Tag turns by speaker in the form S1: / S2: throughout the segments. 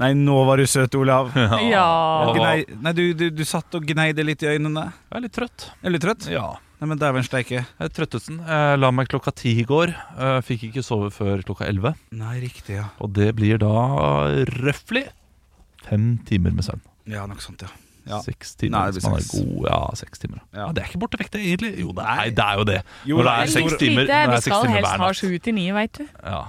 S1: Nei, nå var du søt, Olav.
S2: Ja.
S1: Gnei, nei, du, du, du satt og gneide litt i øynene.
S2: Jeg er litt trøtt.
S1: Er du litt trøtt?
S2: Ja.
S1: Nei, men dæven steike.
S2: Jeg er trøttesten. Jeg la meg klokka ti i går. Eh, Fikk ikke sove før klokka elleve.
S1: Nei, riktig, ja.
S2: Og det blir da røftlig fem timer med søvn.
S1: Ja, nok sånt, ja. Ja.
S2: Seks timer.
S1: Nei, det
S2: hvis
S1: blir
S2: man er
S1: seks.
S2: god, ja, seks timer.
S1: Ja.
S2: Ja. det er ikke borte vekk, det, egentlig. Jo, det er, det er jo det.
S1: Jo,
S2: Når det
S1: det er
S2: er
S1: litt
S2: seks timer,
S3: lite.
S2: når det
S3: Vi
S2: er seks
S3: skal
S2: timer
S3: helst
S2: hver
S3: ha
S2: natt.
S3: sju til ni, veit du.
S2: Ja.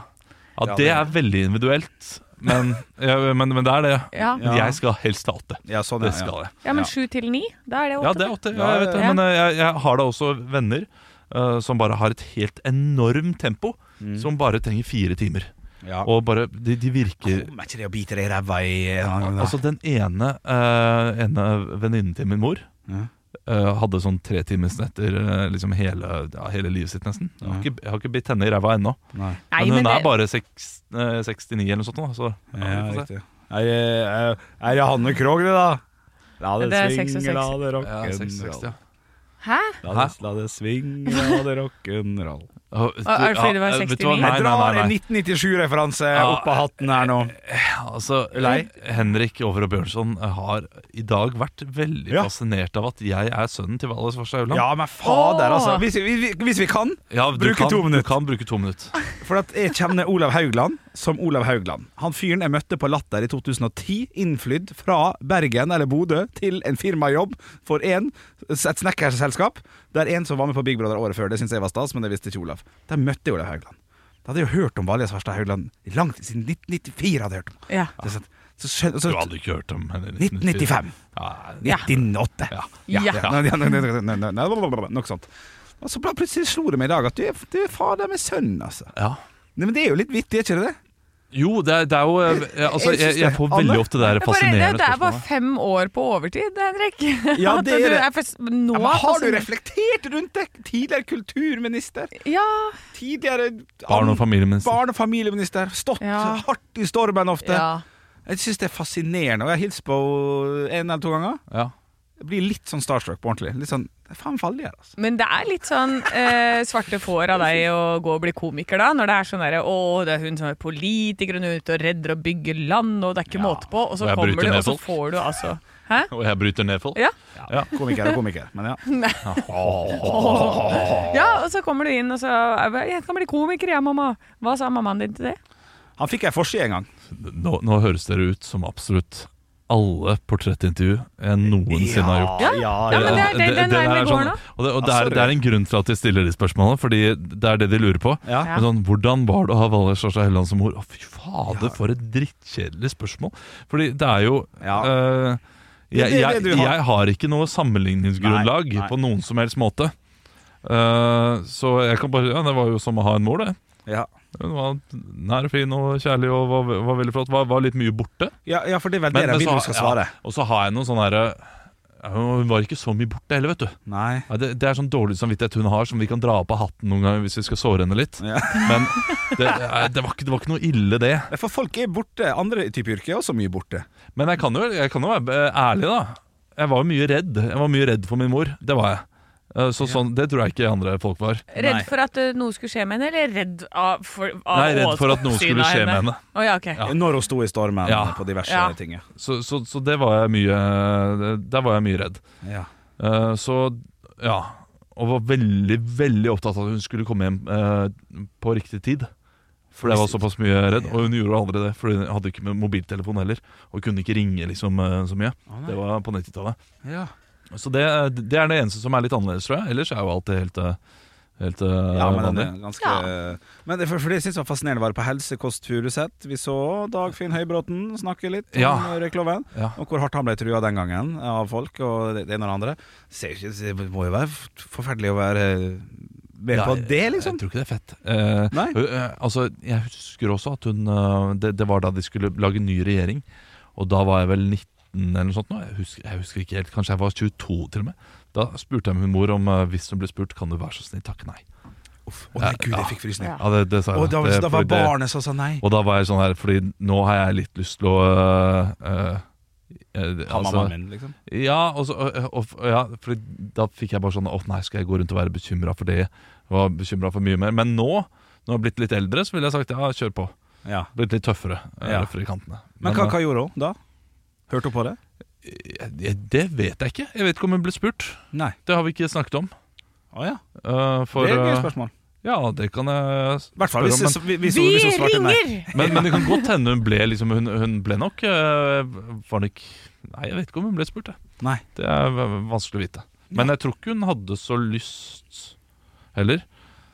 S1: Ja,
S2: ja, det er veldig individuelt. Men, ja, men, men det er det.
S3: Ja,
S1: Ja.
S2: Men jeg skal helst ha åtte.
S1: Ja, sånn,
S2: Det
S1: ja,
S2: skal
S1: ja.
S2: jeg.
S3: ja men sju til ni, da er det
S2: Ja,
S3: åtte.
S2: det er åtte.
S1: Ja,
S2: Ja, jeg vet det.
S3: ja, ja.
S2: Men eh, jeg, jeg har da også venner eh, som bare har et helt enormt tempo. Som bare trenger fire timer.
S1: Ja.
S2: Og bare, de, de virker
S1: Kommer ikke det å bite deg i ræva i
S2: Altså den ene, eh, ene venninnen til min mor
S1: Ja.
S2: eh, hadde sånn tre times netter eh, liksom hele, ja, hele livet sitt nesten. Jeg har ikke, jeg har ikke bitt henne i ræva ennå.
S1: Nei.
S3: Nei,
S2: Men hun
S3: men det-
S2: er bare seks, eh, 69 eller noe sånt. nå, Så, ja,
S1: Ja,
S2: vi får se.
S1: riktig. Er, det- er det Hanne Krogh, det, da? La
S3: Det er
S1: swing,
S3: 66.
S1: la det
S2: ja, 66, ja.
S3: Hæ?
S1: La det, la det swing, la det rock'n'roll.
S2: Å, vet du-
S3: er det fordi det var
S2: ja, vet du
S3: 69?
S2: hva? Nei,
S1: Jeg
S2: nei,
S1: drar
S2: nei,
S1: en
S2: nei.
S1: 1997-referanse
S2: Ja.
S1: opp av hatten her nå.
S2: Altså, Henrik Over og Bjørnson eh, har i dag vært veldig
S1: Ja.
S2: fascinert av at jeg er sønnen til Valdres Farstad Aurland.
S1: Ja, men fader,
S3: Åh.
S1: altså. Hvis vi, vi- hvis vi kan.
S2: Ja, du
S1: bruke
S2: kan-
S1: to minutter.
S2: Du kan bruke to minutter.
S1: For at jeg kjenner Olav Haugland som Olav Haugland. Han fyren jeg møtte på Latter i 2010, innflydd fra Bergen eller Bodø til en firmajobb for en, et snekkerselskap. Der en som var med på Big Brother året før, det syntes jeg var stas, men det visste ikke Olav. Der møtte jeg Olav Haugland. Da hadde jeg jo hørt om Valje Svarstad Haugland i langt siden 1994. hadde jeg hørt om
S3: Ja.
S1: Det er sant. Så, skjøn-
S2: Du
S1: så,
S2: hadde ikke hørt om henne i
S1: 1995.
S2: Ja,
S1: 1908.
S2: Ja.
S1: Ja.
S3: Ja.
S1: ja. Nei, nei, nei, nei, nei, nei, nei, Nok sånt. Og så bare plutselig slo det meg i dag at du er, du er fader med sønn, altså.
S2: ja.
S1: Nei, men det er jo litt vittig, er ikke det det?
S2: Jo, det er, det er jo eh, altså,
S1: Jeg
S2: jeg,
S1: synes
S2: jeg,
S1: det.
S2: får
S1: Anne?
S2: veldig ofte det der
S3: Det er bare, det,
S2: fascinerende
S3: det er bare
S2: spørsmålet.
S3: fem år på overtid, Henrik.
S1: Ja,
S3: At
S1: det er
S3: du
S1: det.
S3: fast- nå
S1: Ja, men har du
S3: fascin-
S1: reflektert rundt det? Tidligere kulturminister,
S3: Ja,
S1: tidligere
S2: Barn- og familieminister.
S1: Barn- og familieminister. Stått
S3: Ja.
S1: hardt i stormen ofte.
S3: ja.
S1: Jeg syns det er fascinerende. Og jeg har hilst på en eller to ganger.
S2: Ja.
S1: Jeg blir litt sånn starstruck på ordentlig. Litt sånn Faen, faller jeg, altså.
S3: Men det er litt sånn eh, svarte får av deg å gå og bli komiker, da. Når det er sånn derre Å, det er hun som er politiker, hun er ute og redder og bygger land, og det er ikke måte på. Og så
S2: Og jeg bryter
S3: kommer du,
S2: ned
S3: og så
S2: folk.
S3: får du altså Hæ?
S2: Og jeg bryter ned folk.
S3: Ja.
S1: Komiker og komiker, men ja.
S3: ja, og så kommer du inn, og så er det, Jeg kan bli komiker, jeg, mamma. Hva sa mammaen din til det?
S1: Han fikk ei forside en gang.
S2: Nå, nå høres dere ut som absolutt alle portrettintervju jeg noensinne har gjort.
S1: Ja,
S3: Ja, men det er den- den veien
S2: er sånn-
S3: det går nå.
S2: og det, og det, er, det er en grunn til at de stiller de spørsmålene, Fordi det er det de lurer på.
S1: Ja.
S2: Men sånn, hvordan var det å ha Valgerd Svarstad Helleland som mor? Å, fy fader, for et drittkjedelig spørsmål. Fordi det er jo
S1: Ja.
S2: eh,
S1: Det er
S2: jeg,
S1: det
S2: jeg,
S1: du har.
S2: jeg har ikke noe sammenligningsgrunnlag
S1: Nei, nei.
S2: på noen som helst måte. Eh, så jeg kan bare Ja, det var jo som å ha en mor, det.
S1: Ja.
S2: Hun var nær og fin og kjærlig og var, var veldig flott. Var, var litt mye borte.
S1: Ja, ja, for det er vel det de vil
S2: så-
S1: du skal svare.
S2: Ja, og så har jeg noen sånne herre Hun var ikke så mye borte heller, vet du.
S1: Nei.
S2: Ja, det, det er sånn dårlig samvittighet hun har, som vi kan dra opp av hatten noen ganger hvis vi skal såre henne litt.
S1: Ja.
S2: Men det, eh, det, var ikke, det var ikke noe ille, det.
S1: For folk er borte. Andre typer yrker er også mye borte.
S2: Men jeg kan jo, jeg kan jo være eh, ærlig, da. Jeg var jo mye redd. Jeg var mye redd for min mor. Det var jeg. Eh, Så sånn, Det tror jeg ikke andre folk var.
S3: Redd for at eh, noe skulle skje med henne, eller redd av, for, av
S2: Nei, redd for at noe skulle
S3: oppsynet av
S2: skje med henne.
S3: Å ja, ok.
S2: Ja.
S1: Når hun sto i stormen
S2: Ja.
S1: på diverse
S3: Ja.
S1: ting. ja.
S2: Så, så, så det var jeg mye Der var jeg mye redd.
S1: Ja.
S2: Eh, Så ja Og var veldig, veldig opptatt av at hun skulle komme hjem eh, på riktig tid. For jeg var såpass mye redd, og hun gjorde aldri det. For hun hadde ikke med mobiltelefon heller, og kunne ikke ringe liksom eh, så mye. Det var på 90-tallet.
S1: Ja.
S2: Så det, eh, det er det eneste som er litt annerledes, tror jeg. Ellers er jo alt det helt, eh, helt eh,
S1: Ja, men den
S2: vanlig.
S1: er ganske Men det, for, for det synes jeg var fascinerende var det på Helse Kåss Furuseth. Vi så Dagfinn Høybråten snakke litt om
S2: Ja.
S1: røykloven,
S2: Ja.
S1: og hvor hardt han ble trua den gangen av folk og det det ene og det andre. Ser jo ikke, det må jo være f- forferdelig å være eh, med
S2: Ja,
S1: på det,
S2: Jeg
S1: liksom.
S2: tror ikke det er fett. Eh,
S1: Nei.
S2: hun, eh, altså, jeg husker også at hun eh, det, det var da de skulle lage ny regjering. Og da var jeg vel 19 eller noe sånt. nå. Jeg husker, jeg husker ikke helt, Kanskje jeg var 22 til og med. Da spurte jeg min mor om eh, hvis hun ble spurt kan du være så snill takke nei.
S1: Uff. Å nei, gud, jeg fikk frysninger.
S2: Ja, det, det sa jeg.
S1: Og da,
S2: Det-
S1: da var
S2: fordi det-
S1: barnet som sa nei.
S2: Og da var jeg sånn her, fordi nå har jeg litt lyst til å øh, øh, øh, altså-
S1: min, liksom.
S2: ja, og så, og, og, ja, for da fikk jeg bare sånn Å nei, skal jeg gå rundt og være bekymra for det? Jeg Var bekymra for mye mer. Men nå, når jeg har blitt litt eldre, så ville jeg sagt ja, kjør på.
S1: Ja.
S2: Blitt litt tøffere. øh,
S1: Ja.
S2: Røffere i kantene.
S1: Men hva, hva gjorde hun da? Hørte hun på det?
S2: øh, jeg- Det vet jeg ikke. Jeg vet ikke om hun ble spurt.
S1: Nei.
S2: Det har vi ikke snakket om.
S1: Å ja.
S2: Øh, for,
S1: det er et gøy
S2: øh,
S1: spørsmål.
S2: ja, det kan jeg
S1: I hvert fall hvis,
S2: spørre om, men-
S1: hvis, hvis, hun-
S3: Vi
S1: hvis hun svarte nei.
S3: ringer!
S2: Men, men det kan godt hende hun ble liksom, hun, hun ble nok øh, Var nok Nei, jeg vet ikke om hun ble spurt, jeg.
S1: Nei.
S2: Det er v- vanskelig å vite. Men jeg tror ikke hun hadde så lyst heller.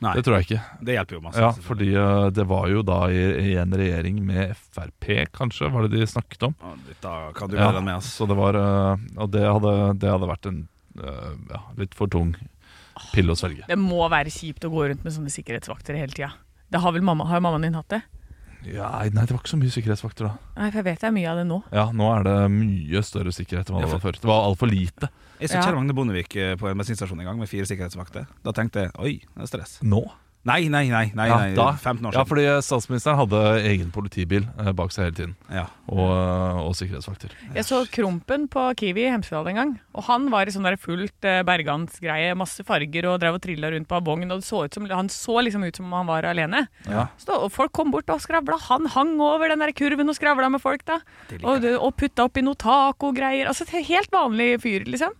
S1: Nei.
S2: Det tror jeg ikke.
S1: Det hjelper jo masse.
S2: Ja, fordi øh, det var jo da i, i en regjering med Frp, kanskje, var det de snakket om.
S1: Å, Da kan du
S2: Ja,
S1: være med altså. oss.
S2: Så det var øh, Og det hadde, det hadde vært en øh, ja, litt for tung pille å svelge.
S3: Det må være kjipt å gå rundt med sånne sikkerhetsvakter hele tida. Det har vel mamma, har mammaen din hatt det?
S2: Ja, nei, det var ikke så mye sikkerhetsvakter da.
S3: Nei, for jeg vet det er mye av det nå.
S2: Ja, nå er det mye større sikkerhet enn hva det var før. Det var altfor lite
S1: Jeg så
S3: Ja.
S1: Kjell Magne Bondevik eh, på en bensinstasjon en gang med fire sikkerhetsvakter. Da tenkte jeg oi, det er stress.
S2: nå.
S1: Nei, nei, nei. nei,
S2: Ja,
S1: nei
S2: da-
S1: 15 år
S2: Ja,
S1: siden.
S2: fordi statsministeren hadde egen politibil eh, bak seg hele tiden,
S1: Ja,
S2: og, eh, og sikkerhetsvakter.
S3: Jeg så Krompen på Kiwi i Hemsedal en gang. Og han var i sånn der fullt eh, bergansgreie, masse farger, og drev og trilla rundt på en vogn. Og det så ut som, han så liksom ut som om han var alene.
S2: Ja.
S3: Så da, og folk kom bort og skravla. Han hang over den der kurven og skravla med folk, da.
S1: Det liker
S3: Og, det- og putta oppi noe taco-greier. Altså et helt vanlig fyr, liksom.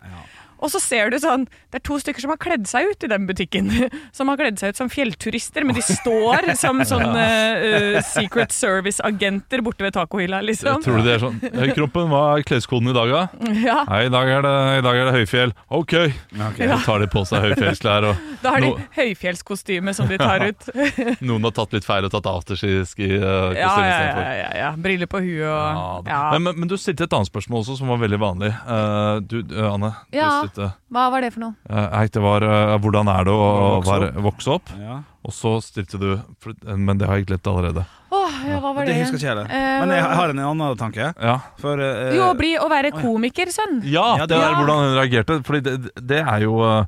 S3: Og så ser du sånn Det er to stykker som har kledd seg ut i den butikken. Som har kledd seg ut som fjellturister, men de står som sånn eh, eh, Secret Service-agenter borte ved tacohylla, liksom.
S2: Tror du det er sånn «Hei, Krompen, hva er kleskoden i dag, da?
S3: Ja,
S2: Nei, i dag er det, i dag er det høyfjell. Ok! Så tar de på seg høyfjellsklær, og
S3: Da har de
S2: Nå-
S3: høyfjellskostyme som de tar ut.
S2: noen har tatt litt feil og tatt afterski-kostyme
S3: Ja, ja, ja,
S2: istedenfor.
S3: ja, ja. Briller på huet og
S2: Ja.
S3: ja.
S2: Men, men, men du stilte et annet spørsmål også, som var veldig vanlig. Eh, du, eh, Anne.
S3: Ja.
S2: Du stilte,
S3: Hva var det for noe?
S2: eh, hei, det var eh, hvordan er det å
S1: Vokse
S2: være, vokse opp?
S1: ja.
S2: Og så stilte du for, Men det har jeg glemt allerede.
S3: Åh, ja, hva var
S1: Det
S3: det?
S1: husker ikke jeg heller.
S3: Eh,
S1: Men jeg har en annen tanke.
S2: Ja,
S1: For eh,
S3: Jo, å bli, å være komiker, sønn.
S2: Ja,
S1: Ja,
S2: det
S1: det-
S2: er hvordan hun reagerte. Fordi det, det er jo eh,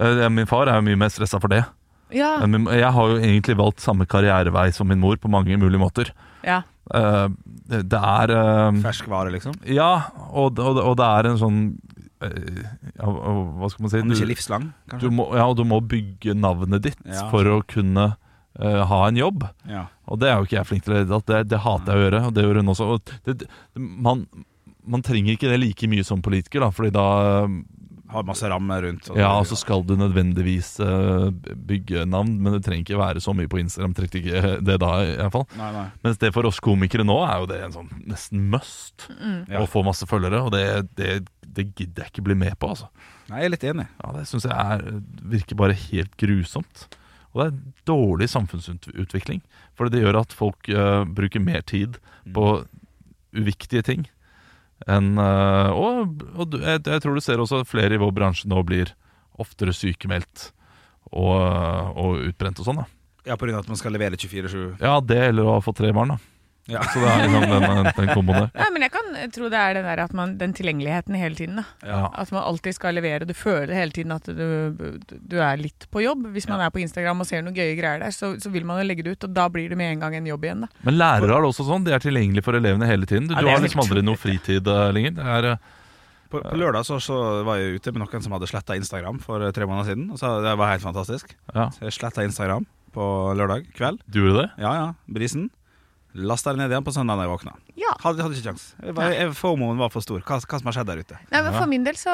S2: eh, Min far er jo mye mer stressa for det.
S3: Ja.
S2: Eh, min- Jeg har jo egentlig valgt samme karrierevei som min mor på mange mulige måter.
S3: ja.
S2: Eh, det det er eh,
S1: ferskvare, liksom.
S2: Ja, og, og, og det er en sånn eh, ja, Hva skal man si?
S1: Om du ikke er
S2: Du,
S1: livslang,
S2: du,
S1: kanskje.
S2: må, ja, og du må bygge navnet ditt
S1: Ja.
S2: for å kunne eh, ha en jobb.
S1: Ja.
S2: Og det er jo ikke jeg flink til i det hele tatt. Det, det hater jeg å gjøre, og det gjør hun også. Og det, det, man, man trenger ikke det like mye som politiker, da, fordi da eh,
S1: Har masse rammer rundt.
S2: Ja, og så skal du nødvendigvis eh, bygge navn, men det trenger ikke være så mye på Instagram. Trenger ikke det da, i hvert fall.
S1: Nei, nei.
S2: Mens det for oss komikere nå er jo det en sånn nesten must
S1: Ja.
S2: å få masse følgere, og det, det, det gidder jeg ikke bli med på, altså.
S1: nei, jeg er litt enig.
S2: Ja, det syns jeg er, virker bare helt grusomt. Og det er dårlig samfunnsutvikling, for det gjør at folk eh, bruker mer tid
S1: Mm.
S2: på uviktige ting enn eh, Og, og du, jeg, jeg tror du ser også at flere i vår bransje nå blir oftere sykemeldt og, og utbrent og sånn. da
S1: Ja, på grunn av at man skal levere 24-7.
S2: Ja, det eller å ha fått tre barn, da.
S1: Ja.
S2: Så det er liksom den, den komboen der.
S3: Nei, men jeg kan tro det er den, der at man, den tilgjengeligheten hele tiden. Da.
S2: Ja.
S3: At man alltid skal levere. Du føler hele tiden at du, du er litt på jobb. Hvis man er på Instagram og ser noen gøye greier der, så, så vil man jo legge det ut, og da blir det med en gang en jobb igjen. Da.
S2: Men lærere er det også sånn. De er tilgjengelige for elevene hele tiden. Du,
S3: Ja,
S2: du
S3: det er
S2: har liksom
S3: helt
S2: aldri noe fritid eh, lenger. Det er eh,
S1: På, på lørdag så, så var jeg ute med noen som hadde sletta Instagram for eh, tre måneder siden. Og så, Det var helt fantastisk.
S2: Ja.
S1: Så jeg sletta Instagram på lørdag kveld.
S2: Du gjorde det?
S1: Ja, ja, brisen. Lasta det ned igjen på søndag da jeg våkna.
S3: Ja.
S1: Hadde, hadde ikke kjangs. Jeg var- jeg- FOMO-en var for stor. Hva, hva som har skjedd der ute?
S3: Nei, men For min del så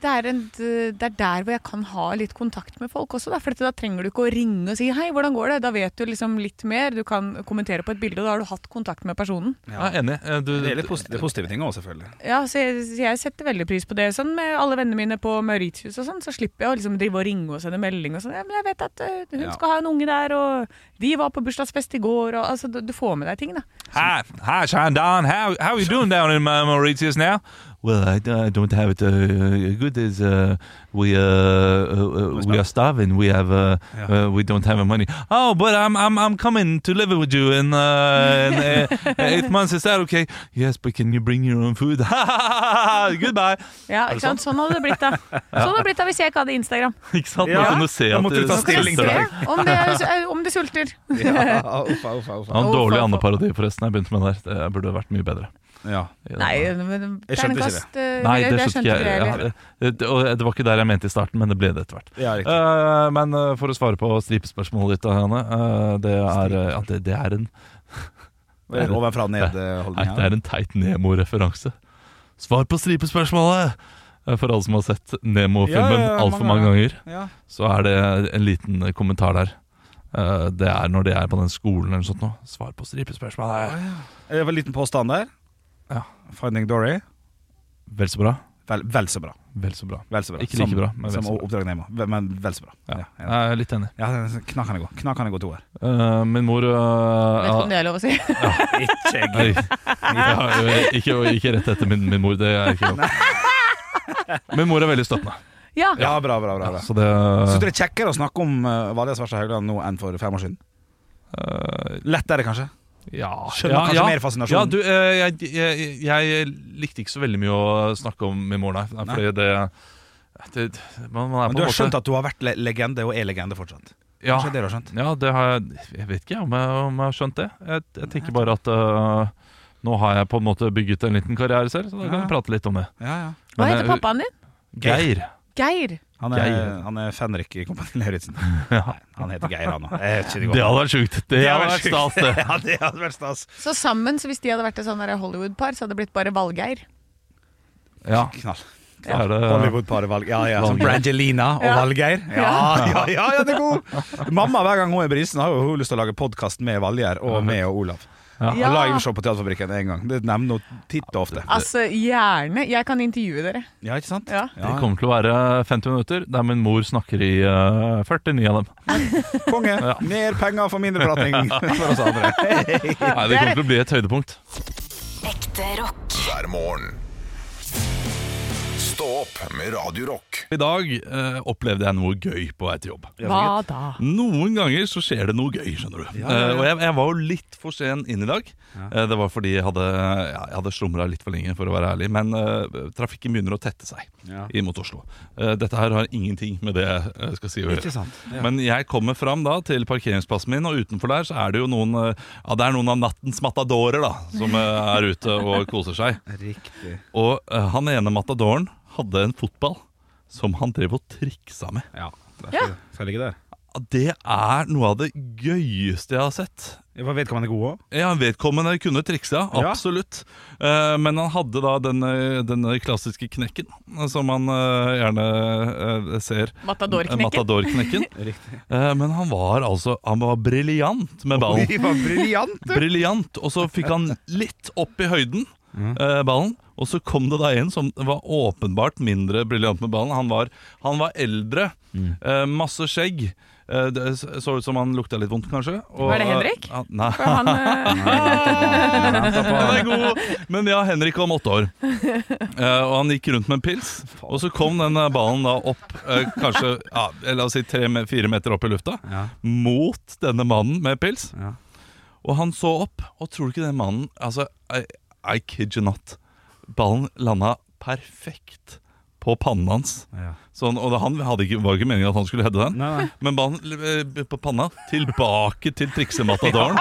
S3: det er en, det er der hvor jeg kan ha litt kontakt med folk også. Da, for at da trenger du ikke å ringe og si 'hei, hvordan går det?' Da vet du liksom litt mer. Du kan kommentere på et bilde, og da har du hatt kontakt med personen.
S2: Ja, jeg er enig. Eh, Du,
S1: Det er litt posi- det er positive ting òg, selvfølgelig.
S3: Ja, så jeg, så jeg setter veldig pris på det. Sånn med alle vennene mine på Mauritius og sånn, så slipper jeg å liksom drive og ringe og sende melding og sånn. Ja, men jeg vet at eh, hun
S1: Ja.
S3: skal ha en unge der, og de var på bursdagsfest i går, og altså du, du får med deg ting, da.
S2: Hi, hi, Sean Don. How how you doing down in uh, Mauritius now? Well, I, I don't have it uh, good. Is uh, we uh, uh, uh, we are starving. We have uh,
S1: Yeah.
S2: uh, we don't have money. Oh, but I'm I'm I'm coming to live with you in, uh, in uh, eight months. Is that okay? Yes, but can you bring your own food? Goodbye.
S3: Ja, ikke sant? Sånn hadde det blitt da. Sånn hadde det blitt da hvis jeg ikke hadde Instagram.
S2: Ikke sant?
S1: Ja.
S2: Man kunne se
S1: Da
S2: at
S1: måtte du ta
S2: det
S1: stilling til
S2: støtter
S1: det.
S2: deg.
S3: Se om, det er, eh, om de sulter.
S1: Ja, uffa, uffa,
S2: Ja,
S1: uffa.
S2: en
S3: Å, faen,
S2: dårlig
S3: faen.
S2: andeparodi, forresten. Jeg begynte med der. Det burde vært mye bedre.
S1: Ja.
S3: Nei, men
S1: Jeg skjønte ikke det.
S3: terningkast, eh,
S2: Nei, det
S3: jeg
S2: skjønte ikke jeg.
S3: heller.
S2: Ja, eh, det, det- og det var ikke der jeg mente i starten, men det ble det etter hvert.
S1: Ja, riktig.
S2: Eh, men eh, for å svare på stripespørsmålet ditt, Hanne. eh, det, er, eh, ja, det, det er en
S1: Det er Ovenfra og eh,
S2: Nei,
S1: ned-holdning
S2: det
S1: her.
S2: er en teit Nemo-referanse. Svar på stripespørsmålet! Eh, For alle som har sett
S1: Ja,
S2: Nemo-filmen
S1: ja, ja,
S2: altfor
S1: mange
S2: mange ganger,
S1: Ja.
S2: så er det en liten kommentar der. Eh, Det er når de er på den skolen eller noe sånt nå. Svar på stripespørsmålet!
S1: Det var en liten påstand der.
S2: Ja.
S1: Finding Dory.
S2: Vel så bra.
S1: Vel, vel så bra.
S2: Vel så bra.
S1: Vel så bra.
S2: Ikke like
S1: som,
S2: bra, men vel
S1: som
S2: så bra.
S1: Oppdrag Nemo. Vel- Men vel så bra.
S2: Ja.
S1: Ja,
S2: Jeg er litt enig.
S1: ja den er knakende god. Knakende god toer.
S2: Eh, Min mor eh,
S3: Vet ikke
S2: ja,
S3: om det er lov å si.
S1: Ikke
S2: Nei. Ja, ikke, ikke rett etter min, min mor, det er ikke lov. Min mor er veldig støttende.
S3: Ja,
S1: Ja, bra, bra, bra. bra.
S2: Så eh, det
S1: Syns du det er kjekkere å snakke om uh, Valja Svarstad Haugland nå enn for fem år siden? Lettere, kanskje?
S2: eh, ja,
S1: Skjønner kanskje mer fascinasjon.
S2: Ja, du, eh, jeg, jeg, jeg likte ikke så veldig mye å snakke om min mor, nei. nei fordi det, det man, man er
S1: Men
S2: på
S1: du
S2: en
S1: har
S2: måte
S1: skjønt at du har vært le legende, og er legende fortsatt?
S2: ja,
S1: Kanskje det du har skjønt?
S2: ja, det har jeg Jeg vet ikke om jeg, om jeg har skjønt det. Jeg, jeg tenker bare at eh, nå har jeg på en måte bygget en liten karriere selv, så da kan
S1: Ja.
S2: vi prate litt om det.
S1: Ja, ja.
S3: Hva
S2: Men,
S3: heter
S2: eh,
S3: pappaen din?
S2: Geir.
S3: Geir.
S1: Han er,
S2: Geir.
S1: han er Fenrik i Kompani Lauritzen.
S2: Ja.
S1: Han heter Geir, han òg. Det
S2: Det hadde vært sjukt. Det hadde vært
S1: sjukt.
S2: stas, det.
S1: Ja, det hadde vært stas.
S3: Så sammen, så hvis de hadde vært et sånn der Hollywood-par, så hadde det blitt bare Valgeir.
S2: Ja,
S1: Knall.
S2: så er det
S1: Hollywood-paret Valg... Ja, ja, som
S2: Valgeir.
S1: Brangelina og
S3: Ja.
S1: Valgeir. Ja, ja, ja, ja, det er god! Mamma, hver gang hun er i brisen, har jo hun lyst til å lage podkast med Valgeir og med og Olav.
S2: Ja.
S1: Og Liveshow på Teaterfabrikken en gang. Det nevner hun titt og ofte.
S3: Altså, gjerne. Jeg kan intervjue dere.
S1: Ja, ikke sant?
S3: Ja.
S2: Det kommer til å være 50 minutter der min mor snakker i eh, 49 av dem.
S1: Konge! Mer penger for mindre prating for oss andre.
S2: Nei, Det kommer til å bli et høydepunkt.
S4: Ekte rock.
S5: hver morgen. Stå opp med Radio Rock.
S2: I dag eh, opplevde jeg noe gøy på vei til jobb.
S3: Hva da?
S2: Noen ganger så skjer det noe gøy, skjønner du. Eh, og jeg, jeg var jo litt for sen inn i dag. Eh, det var fordi jeg hadde, ja, jeg hadde slumra litt for lenge, for å være ærlig. Men eh, trafikken begynner å tette seg inn mot Oslo. Eh, dette her har ingenting med det jeg eh, skal si å gjøre.
S1: Ikke sant, ja.
S2: Men jeg kommer fram da til parkeringsplassen min, og utenfor der så er det jo noen eh, Ja, det er noen av nattens matadorer da, som eh, er ute og koser seg.
S1: Riktig.
S2: Og eh, han ene matadoren hadde en fotball som han drev og triksa med.
S1: Ja. Der skal, skal ligge der.
S2: Det er noe av det gøyeste jeg har sett.
S1: Jeg vet hva man er god òg.
S2: Ja, Vedkommende kunne triksa,
S1: Ja.
S2: absolutt. Eh, men han hadde da den, eh, den klassiske knekken, eh, som man eh, gjerne eh, ser.
S3: Matadorknekken.
S2: Matadorknekken.
S1: Riktig.
S2: Eh, men han var altså Han var briljant med ballen.
S1: Vi var briljante!
S2: Briljant. Og så fikk han litt opp i høyden, eh, ballen. Og så kom det da en som var åpenbart mindre briljant med ballen. Han var, han var eldre, eh, masse skjegg. Eh, det s- så ut som han lukta litt vondt, kanskje. Og, eh,
S3: Var det Henrik?
S2: Ja, nei.
S3: For han eh,
S2: Den er god. Men ja, Henrik var om åtte år. Eh, og han gikk rundt med en pils. Og så kom den eh, ballen da opp eh, kanskje ja, la oss si tre-fire meter opp i lufta
S1: Ja.
S2: mot denne mannen med pils.
S1: Ja.
S2: Og han så opp, og tror du ikke den mannen Altså, I, I kid you not. Ballen landa perfekt på pannen hans.
S1: Ja.
S2: Sånn, og det- han hadde ikke, var ikke meningen at han skulle hedde den.
S1: Nei, nei.
S2: Men ballen eh, på panna tilbake til triksematadoren,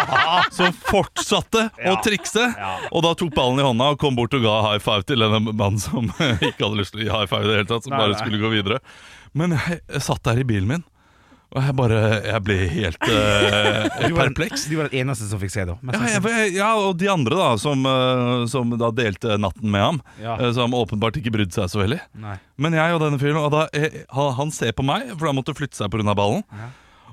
S2: som fortsatte å trikse. Og da tok ballen i hånda og kom bort og ga high five til denne mannen som ikke hadde lyst til å gi high five i det hele tatt, som
S1: Nei,
S2: bare
S1: nei.
S2: skulle gå videre. Men jeg, jeg satt der i bilen min, og jeg bare Jeg ble helt eh,
S1: Du var,
S2: perpleks.
S1: du var den eneste som fikk se det. mest
S2: Ja, jeg,
S1: sannsynlig.
S2: jeg, ja, og de andre da som, eh, som da delte natten med ham,
S1: Ja.
S2: eh, som åpenbart ikke brydde seg så veldig.
S1: Nei.
S2: Men jeg og denne fyren og da, eh, han, han ser på meg, for han måtte flytte seg pga. ballen.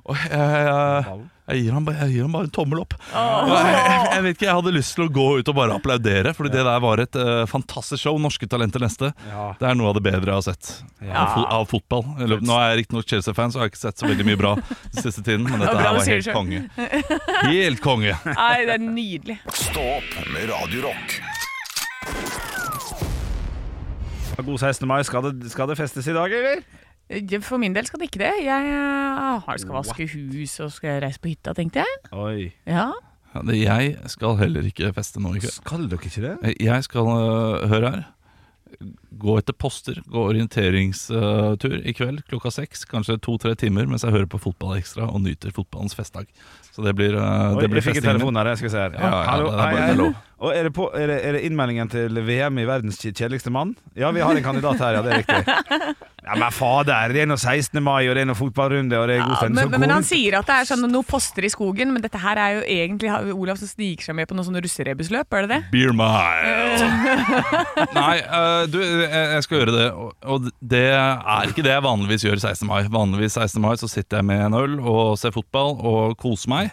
S2: Og jeg, jeg,
S1: Ballen?
S2: jeg, gir han, ba- jeg gir han bare en tommel opp. Og Jeg, jeg, jeg vet ikke, jeg hadde lyst til å gå ut og bare applaudere, Fordi det der var et eh, fantastisk show. Norske Talenter neste.
S1: Ja.
S2: Det er noe av det bedre jeg har sett av, fo av fotball. Eller, nå er jeg riktignok Chelsea-fan, så jeg har ikke sett så veldig mye bra den siste tiden. Men dette
S3: bra
S2: her
S3: du
S2: var
S3: sier det
S2: helt konge. Helt konge.
S3: Nei, det er nydelig.
S5: Stå opp med Radio Rock.
S1: God 16. mai, skal det, skal det festes i dag, eller?
S3: Eh, For min del skal det ikke det. Jeg eh, har- skal vaske hus og skal reise på hytta, tenkte jeg.
S1: Oi.
S3: Ja.
S2: Ja, det- Jeg skal heller ikke feste nå i kveld.
S1: Skal dere ikke det?
S2: Jeg skal øh, høre her. Gå etter poster, gå orienteringstur i kveld klokka seks. Kanskje to-tre timer mens jeg hører på Fotball Ekstra og nyter fotballens festdag. Så det blir, øh,
S1: Oi,
S2: det blir
S1: jeg fikk en
S2: festingen min.
S1: telefon her, jeg skal se her.
S2: Ja, ja, ja,
S1: Hallo,
S2: det er bare
S1: hei, hei.
S2: ikke lov.
S1: Og er det, på, er, det, er det innmeldingen til VM i verdens kj- kjedeligste mann? Ja, vi har en kandidat her, ja, det er riktig. Ja, Men fader, det er nå 16. mai, og det er nå fotballrunde, og det er god
S3: Ja,
S1: stemning.
S3: Ah, men,
S1: Så
S3: men
S1: god-
S3: han sier at det er sånn noen poster i skogen, men dette her er jo egentlig har jo Olav som sniker seg med på noe sånn russerebusløp, er det det?
S2: Beer mile. Nei, øh, du, jeg- jeg skal gjøre det. Og- Og det er ikke det jeg vanligvis gjør 16. mai. Vanligvis 16. mai så sitter jeg med en øl og ser fotball og koser meg.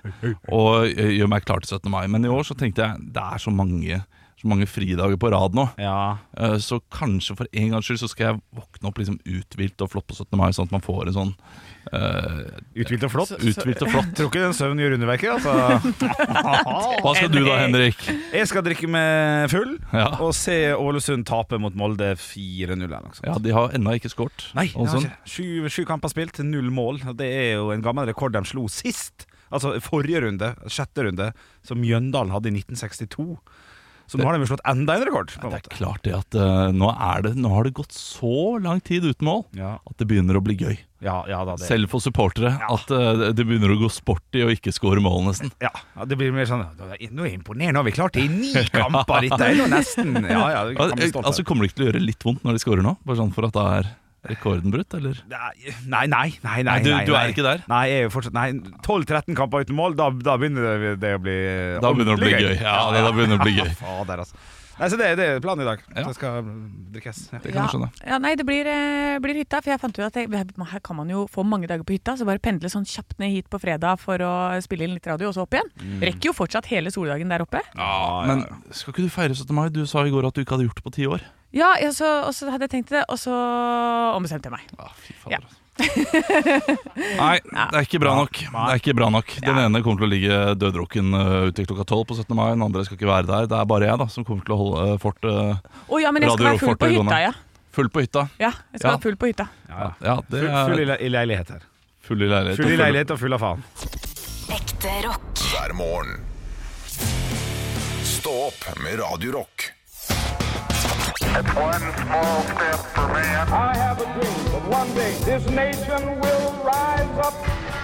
S2: Og øh, gjør meg klar til 17. mai. Men i år så tenkte jeg det er så mange, så mange fridager på rad nå.
S1: Ja.
S2: Eh, Så kanskje for en gangs skyld så skal jeg våkne opp liksom uthvilt og flott på 17. mai, sånn at man får en sånn eh,
S1: Uthvilt og flott.
S2: uthvilt og flott.
S1: Tror ikke den søvnen gjør underverker, altså.
S2: Hva skal du da, Henrik?
S1: Jeg skal drikke meg full
S2: Ja,
S1: og se Ålesund tape mot Molde 4-0 eller noe sånt.
S2: ja de har ennå ikke sånn. scoret.
S1: Nei, det har
S2: Olsen.
S1: ikke. Sju, sju kamper spilt, null mål. Det er jo en gammel rekord de slo sist. Altså forrige runde, sjette runde, som Mjøndalen hadde i 1962. Så nå har de jo slått enda en rekord. På en
S2: Det
S1: måte.
S2: er klart det at eh, nå, er det, nå har det gått så lang tid uten mål
S1: Ja,
S2: at det begynner å bli gøy.
S1: ja, ja da, det.
S2: Selv for supportere. At eh, det begynner å gå sport i å ikke score mål, nesten.
S1: Ja, ja, det blir mer sånn Nå er jeg imponerende, nå har vi klart det i ni kamper! Dette er jo nesten Ja, ja, du kan bli stolt av
S2: Altså,
S1: det.
S2: Kommer det ikke til å gjøre litt vondt når de scorer nå? Bare sånn for at da er rekorden brutt, eller?
S1: Nei, nei, nei. nei, nei,
S2: Nei, du-
S1: nei.
S2: du er ikke der?
S1: Nei, jeg er jo fortsatt Nei, 12-13 kamper uten mål, da, da begynner det, det å bli
S2: Da begynner det å bli
S1: ordentlig
S2: gøy. Ja, da begynner det å bli gøy.
S1: Fader, altså. Nei, så det, det er planen i dag.
S2: Ja.
S1: Det skal mm, drikkes. Ja.
S2: Det kan jeg skjønne.
S3: Ja, nei, det blir, eh, blir hytta, for jeg fant ut at jeg, her kan man jo få mange dager på hytta, så bare pendle sånn kjapt ned hit på fredag for å spille inn litt radio, og så opp igjen.
S1: Mm.
S3: Rekker jo fortsatt hele soldagen der oppe.
S1: Ja,
S2: Men skal ikke du feire 17. mai? Du sa i går at du ikke hadde gjort det på ti år.
S3: Ja, ja, så, og så hadde jeg tenkt det, og så ombestemte jeg meg.
S2: Ah, fy
S3: Ja.
S2: fader, altså. Nei, det er ikke bra nok. Det er ikke bra nok Den ene kommer til å ligge døddrukken øh, ute klokka tolv på 17. mai. Den andre skal ikke være der. Det er bare jeg da som kommer til å holde øh, fort øh,
S3: Å ja, men jeg skal
S2: Radio
S3: være full på
S2: Forte,
S3: hytta,
S2: Gunnar.
S3: ja.
S2: full på hytta.
S3: Ja, jeg skal
S2: Ja.
S3: være full på hytta.
S1: Ja.
S2: Ja, det
S1: Full, full i,
S2: er
S1: le- i leilighet her.
S2: full i leilighet.
S1: Full i
S2: og full-
S1: leilighet og full av faen.
S4: Ekte rock.
S5: hver morgen. Stå opp med Radio Rock.
S6: One small step for man. I have a dream that one day this nation will rise up.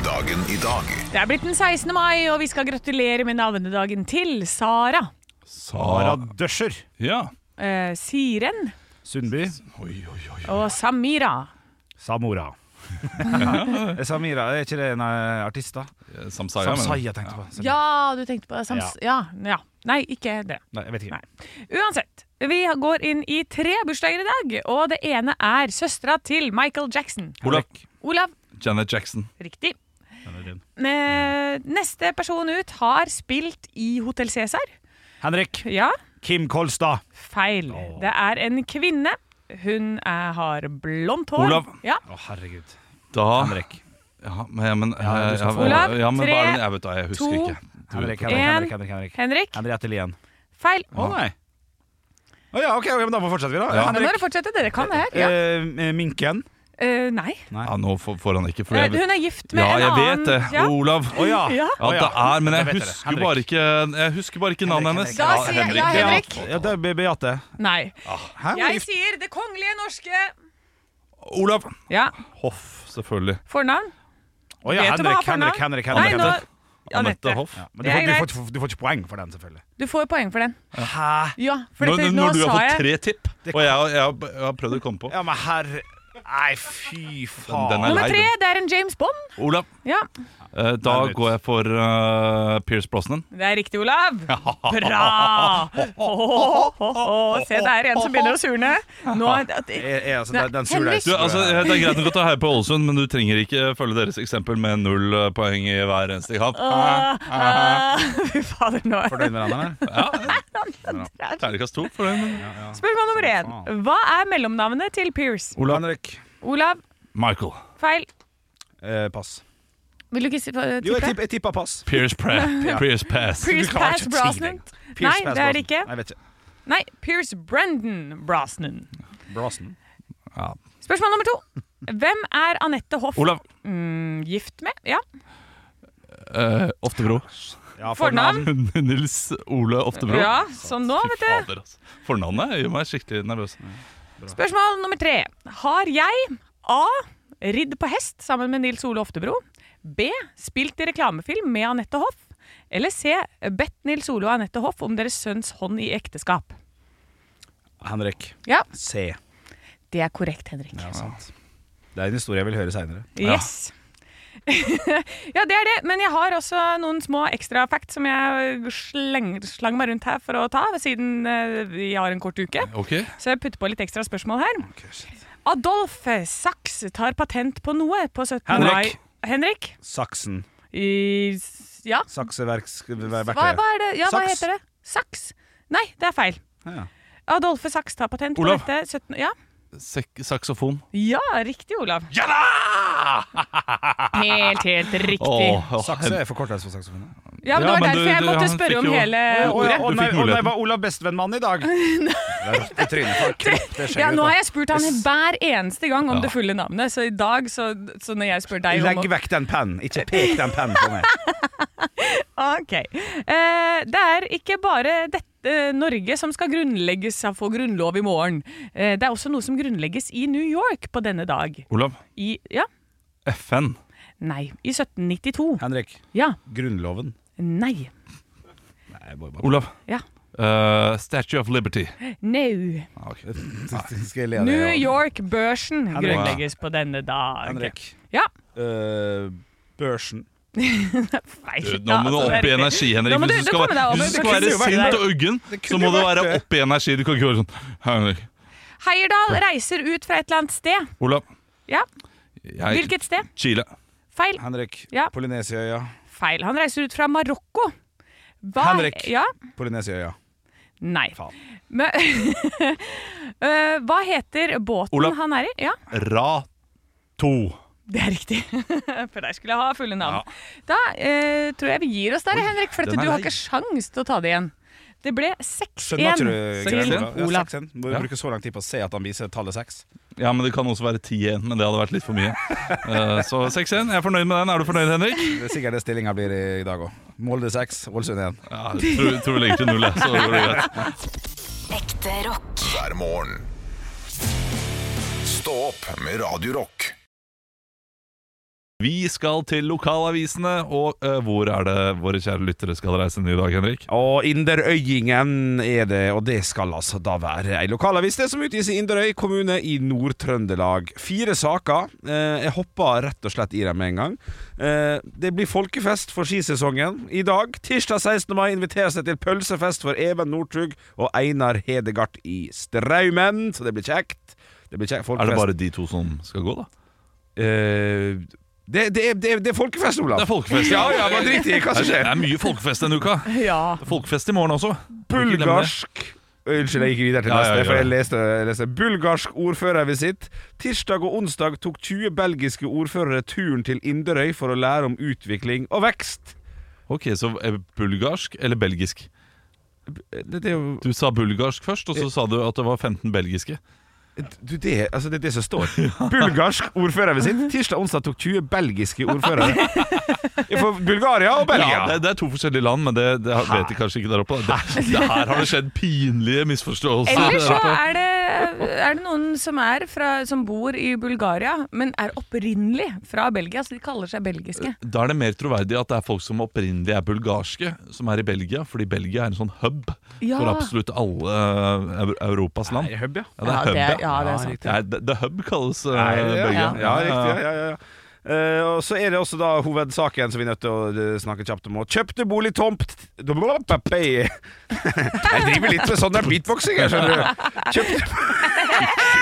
S5: Dagen i dag.
S3: Det er blitt den 16. mai, og vi skal gratulere med navnedagen til Sara.
S2: Sara
S1: Ara Døscher.
S2: Ja.
S3: eh, Siren
S1: Sundby.
S2: Oi, oi, oi.
S3: og Samira.
S1: Samora. Er Samira, er ikke det en eh, artist, da?
S2: Eh, Samsaya,
S1: Samsaya
S2: mener du?
S1: tenkte jeg på. Samira.
S3: Ja, du tenkte på Sams... Ja. ja. Nei, ikke det.
S1: Nei, jeg vet ikke.
S3: Nei. Uansett, vi går inn i tre bursdager i dag, og det ene er søstera til Michael Jackson.
S2: Olav.
S3: Olav,
S2: Janet Jackson.
S3: riktig.
S1: Den er din.
S3: Eh, Neste person ut har spilt i Hotell Cæsar.
S1: Henrik.
S3: Ja,
S1: Kim Kolstad.
S3: feil. Det er en kvinne. Hun er, har blondt hår.
S2: Olav.
S3: Ja.
S1: Å, herregud.
S2: Da
S1: Henrik.
S2: Ja, men, ja, men,
S1: Ja, du skal få-
S2: ja, men-
S3: Olav,
S2: ja, men
S3: tre,
S2: bare- Jeg vet da, jeg husker
S3: to,
S2: ikke. Du-
S1: Henrik, Henrik,
S3: En.
S1: Henrik, Henrik, Henrik.
S3: Henrik,
S1: Henriette Lien.
S3: feil.
S1: Å nei. Å ja, ok, ok, men da får vi fortsette, vi, da.
S2: Ja.
S3: Nå må dere
S1: Henrik.
S3: fortsette, dere kan det her. Ja.
S1: Eh, Minken.
S3: Eh, nei.
S2: Ja, nå får får han ikke. For
S3: Eh,
S2: jeg,
S3: Hun er gift med
S2: ja,
S3: en
S2: jeg
S3: annen.
S2: vet det. Oh.
S3: Ja.
S2: Olav.
S1: Å ja.
S3: Ja.
S2: Ja,
S1: Å,
S2: det er, men
S1: Da
S2: jeg
S1: vet dere.
S2: husker,
S1: Henrik.
S2: bare ikke, jeg husker bare ikke navnet hennes.
S1: Henrik,
S3: Da sier jeg ja, Henrik.
S1: Ja, det er Be- Beate.
S3: Nei.
S2: Ah.
S1: Hæ, hun er
S3: Jeg
S1: gift.
S3: sier Det kongelige norske.
S2: Olav
S3: Ja,
S2: Hoff, selvfølgelig.
S3: Fornavn?
S1: Å ja,
S3: Vet du hva
S1: Henrik,
S3: for
S1: Henrik,
S3: navn?
S1: Henrik.
S3: Nei,
S1: Henrik.
S3: nå
S2: Anette
S3: Anette.
S2: Hoff.
S1: Ja, men du
S3: Det
S1: får,
S3: er
S1: du, får, du, får, du får ikke poeng for den, selvfølgelig.
S3: Du får poeng for den.
S1: Hæ?
S3: Ja, for
S2: Når,
S3: dette,
S2: når,
S3: nå
S2: du har
S3: sa
S2: fått
S3: jeg
S2: tre tipp, og jeg, har- jeg, har- jeg har prøvd å komme på
S1: Ja, men herre Nei, fy faen.
S2: Den er
S3: Nummer
S2: Nei,
S3: tre,
S2: den-
S3: det er en James Bond.
S2: Olav,
S3: Ja,
S2: eh, da
S1: Nei,
S2: går jeg for uh, Pierce Brosnan.
S3: Det er riktig, Olav. Bra! Åh, Se, det er en som begynner å surne. Nå er det-
S1: Jeg- jeg- altså, den- den suger
S3: Henrik.
S1: deg.
S2: Du, altså, eh, det er greit nok å ta heie på Ålesund, men du trenger ikke følge deres eksempel med null eh, poeng i hver eneste kamp.
S3: Åh, åh, Fy fader, nå er det
S1: Fornøyd med den, eller?
S2: Terningkast to for den. men-
S3: Spørsmål nummer én. Hva er mellomnavnet til Pierce?
S1: Henrik.
S3: Olav,
S2: Michael.
S3: feil.
S1: Eh, pass.
S3: Vil du ikke si- eh,
S1: Jo, jeg,
S3: tippe?
S1: tipp, jeg tippa pass.
S2: Pierce Pre. Pierce Pass.
S3: Pierce
S1: Du klarer
S3: Pass
S1: ikke å si det.
S3: Brosnan. Nei, det er det ikke.
S1: Nei, jeg vet ikke.
S3: Nei, Pierce Brendan Brosnan.
S1: Brassen. Ja.
S3: Spørsmål nummer to. Hvem er Anette Hoff
S2: Olav.
S3: Mm, gift med? Ja.
S2: Eh, Oftebro.
S1: Ja,
S3: Fornavn?
S2: Nils Ole Oftebro.
S3: ja sånn nå,
S2: Fy
S3: vet du.
S2: fader, altså. Fornavnet gjør meg skikkelig nervøs.
S3: Spørsmål nummer tre. Har jeg A. Ridd på hest sammen med Nils Ole Oftebro. B. Spilt i reklamefilm med Anette Hoff. Eller C. Bedt Nils Ole og Anette Hoff om deres sønns hånd i ekteskap.
S1: Henrik.
S3: Ja,
S1: C.
S3: det er korrekt, Henrik.
S1: Ja, sånn. sant. Det er en historie jeg vil høre seinere.
S3: Yes. ja, det er det. Men jeg har også noen små ekstra facts som jeg sleng, slang meg rundt her for å ta, siden eh, vi har en kort uke.
S2: Ok,
S3: Så jeg putter på litt ekstra spørsmål her. Adolf Sachs tar patent på noe på 17.
S1: Henrik.
S3: mai. Henrik?
S1: Saksen.
S3: I, s- ja. Hva, hva
S1: Sakseverktøy.
S3: er det? Ja, hva
S1: Sachs.
S3: heter det? Sachs? Nei, det er feil.
S1: Ja.
S3: Adolfe Sachs tar patent
S2: Olav.
S3: på dette 17. Ja.
S2: Sek saksofon.
S3: ja, riktig, Olav.
S2: Ja da!
S3: Helt, helt riktig.
S1: Sakse er forkortelse for saksofon.
S3: Ja, men Det
S2: Ja,
S3: var
S2: men
S3: derfor
S2: du-
S3: jeg
S2: du-
S3: måtte
S2: han
S3: spørre
S2: fikk
S3: om
S2: jo-
S3: hele ordet.
S2: Du fikk muligheten.
S1: var Olav bestevenn mann i dag? Det er i trynet for klipp, det skjer
S3: Ja,
S1: jo
S3: nå
S1: da.
S3: har jeg spurt han hver eneste gang om det fulle navnet, så i dag, så, så når jeg spør deg om
S1: Legg vekk den pennen, ikke pek den pennen på meg.
S3: Ok. Eh, det er ikke bare dette Norge som skal grunnlegges av få grunnlov i morgen. Eh, det er også noe som grunnlegges i New York på denne dag.
S2: Olav.
S3: I Ja,
S2: FN.
S3: nei. I 1792.
S1: Henrik,
S3: Ja,
S1: Grunnloven.
S3: nei.
S1: Nei, jeg bare- bare-
S2: Olav.
S3: Ja.
S2: Eh, Statue of Liberty.
S3: Nau.
S1: Ah, ok. Skal jeg le av det,
S3: New
S1: ja?
S3: York-børsen
S1: Henrik.
S3: grunnlegges på denne dag.
S1: Henrik.
S3: Ja.
S1: Eh, børsen.
S3: Feil.
S2: Du, nå
S3: Ja,
S2: må du
S3: altså, det er
S2: opp i
S3: riktig.
S2: energi, Henrik.
S3: Nå må du-
S2: Hvis du
S3: du
S2: skal
S3: kommer deg
S2: være,
S3: over.
S2: hvis du
S3: Det
S2: skal være
S3: kunne jo vært
S2: sint
S3: det.
S2: og uggen,
S1: kunne
S2: så må
S1: jo
S2: du
S1: vært
S2: være
S1: det.
S2: opp i energi. Du kan ikke være sånn Henrik.
S3: Heyerdahl reiser ut fra et eller annet sted.
S2: Olav.
S3: Ja.
S2: Jeg,
S3: Hvilket sted?
S2: Chile.
S3: Feil.
S1: Henrik.
S3: Ja.
S1: Polynesiaøya.
S3: Feil. Han reiser ut fra Marokko. Hva-
S1: Henrik.
S3: Ja?
S1: Polynesiaøya.
S3: Nei.
S1: Faen.
S3: Men, Eh, hva heter båten
S2: Olav.
S3: han er i? Ja,
S2: Ra 2.
S3: det er riktig. For der skulle jeg ha fulle navn.
S2: Ja.
S3: Da eh, tror jeg vi gir oss der, Henrik, for at
S2: den er
S3: du har
S2: lei.
S3: ikke sjans til å ta det igjen. Det ble
S1: Skjønner ikke
S3: 6-1
S1: du
S3: til
S1: Grønland? Ja,
S3: Olav.
S1: 6-1. Må du
S2: Ja.
S1: bruke så lang tid på å se at han viser tallet seks?
S2: Ja, men det kan også være 10-1, men det hadde vært litt for mye. Eh, så 6-1. Jeg er fornøyd med den. Er du fornøyd, Henrik?
S1: Det er sikkert det stillinga blir i- i dag òg. Molde seks, Ålesund én.
S2: Ja, jeg tror, tror vi legger til null, jeg, så går det greit.
S4: Ekte rock.
S5: hver morgen. Stå opp med Radio Rock.
S2: Vi skal til lokalavisene, og eh, hvor er det våre kjære lyttere skal reise ned i dag, Henrik?
S1: Og Inderøyingen er det, og det skal altså da være ei lokalavis det som utgis i Inderøy kommune i Nord-Trøndelag. Fire saker. Eh, Jeg hoppa rett og slett i dem med en gang. Eh, Det blir folkefest for skisesongen i dag. Tirsdag 16. mai inviteres det til pølsefest for Even Northug og Einar Hedegaard i Straumen, så det blir kjekt. Det blir kjekt.
S2: Er
S1: Folkefest.
S2: det bare de to som skal gå, da?
S1: Eh, det, det, er- det, er- det er folkefest, Olav.
S2: Det er folkefest.
S1: Ja, ja, men drit i hva som
S2: Det
S1: skjer.
S2: er mye folkefest denne uka.
S3: Ja.
S2: Folkefest i morgen også.
S1: Bulgarsk Unnskyld, jeg gikk videre til
S2: Ja, ja,
S1: neste,
S2: ja,
S1: for
S2: ja.
S1: jeg leste, jeg leste. Bulgarsk ordførervisitt. Tirsdag og onsdag tok 20 belgiske ordførere turen til Inderøy for å lære om utvikling og vekst.
S2: Ok, så eh, bulgarsk eller belgisk?
S1: Det, det Eh, er jo
S2: Du sa bulgarsk
S1: Eh.
S2: først, og så sa du at det var 15 belgiske.
S1: du, det, altså, det er det som står. Bulgarsk ordførervisitt. Tirsdag og onsdag tok 20 belgiske ordførere. For Bulgaria og Belgia.
S2: Ja, det, det er to forskjellige land, men det, det har- vet de kanskje ikke der oppe. da. Det, det her har det skjedd pinlige misforståelser.
S3: Eller så
S2: der oppe.
S3: er det, er det noen som, er fra, som bor i Bulgaria, men er opprinnelig fra Belgia, så de kaller seg belgiske.
S2: Da er det mer troverdig at det er folk som opprinnelig er bulgarske, som er i Belgia, fordi Belgia er en sånn hub
S3: Ja.
S2: for absolutt alle eh, Eu- Europas land.
S1: Er det hub, ja?
S2: Ja, det
S3: Ja,
S2: er hub,
S3: det-
S2: ja.
S3: ja, det er sant.
S2: riktig. Nei, the, the hub kalles eh,
S1: Nei, det, ja,
S2: Belgia.
S1: ja, riktig. Ja, ja, ja. Eh, og Så er det også da hovedsaken som vi er nødt til å eh, snakke kjapt om. Og Kjøpte boligtomt Jeg driver litt med sånn der beatboxing, jeg, skjønner du. Kjøpte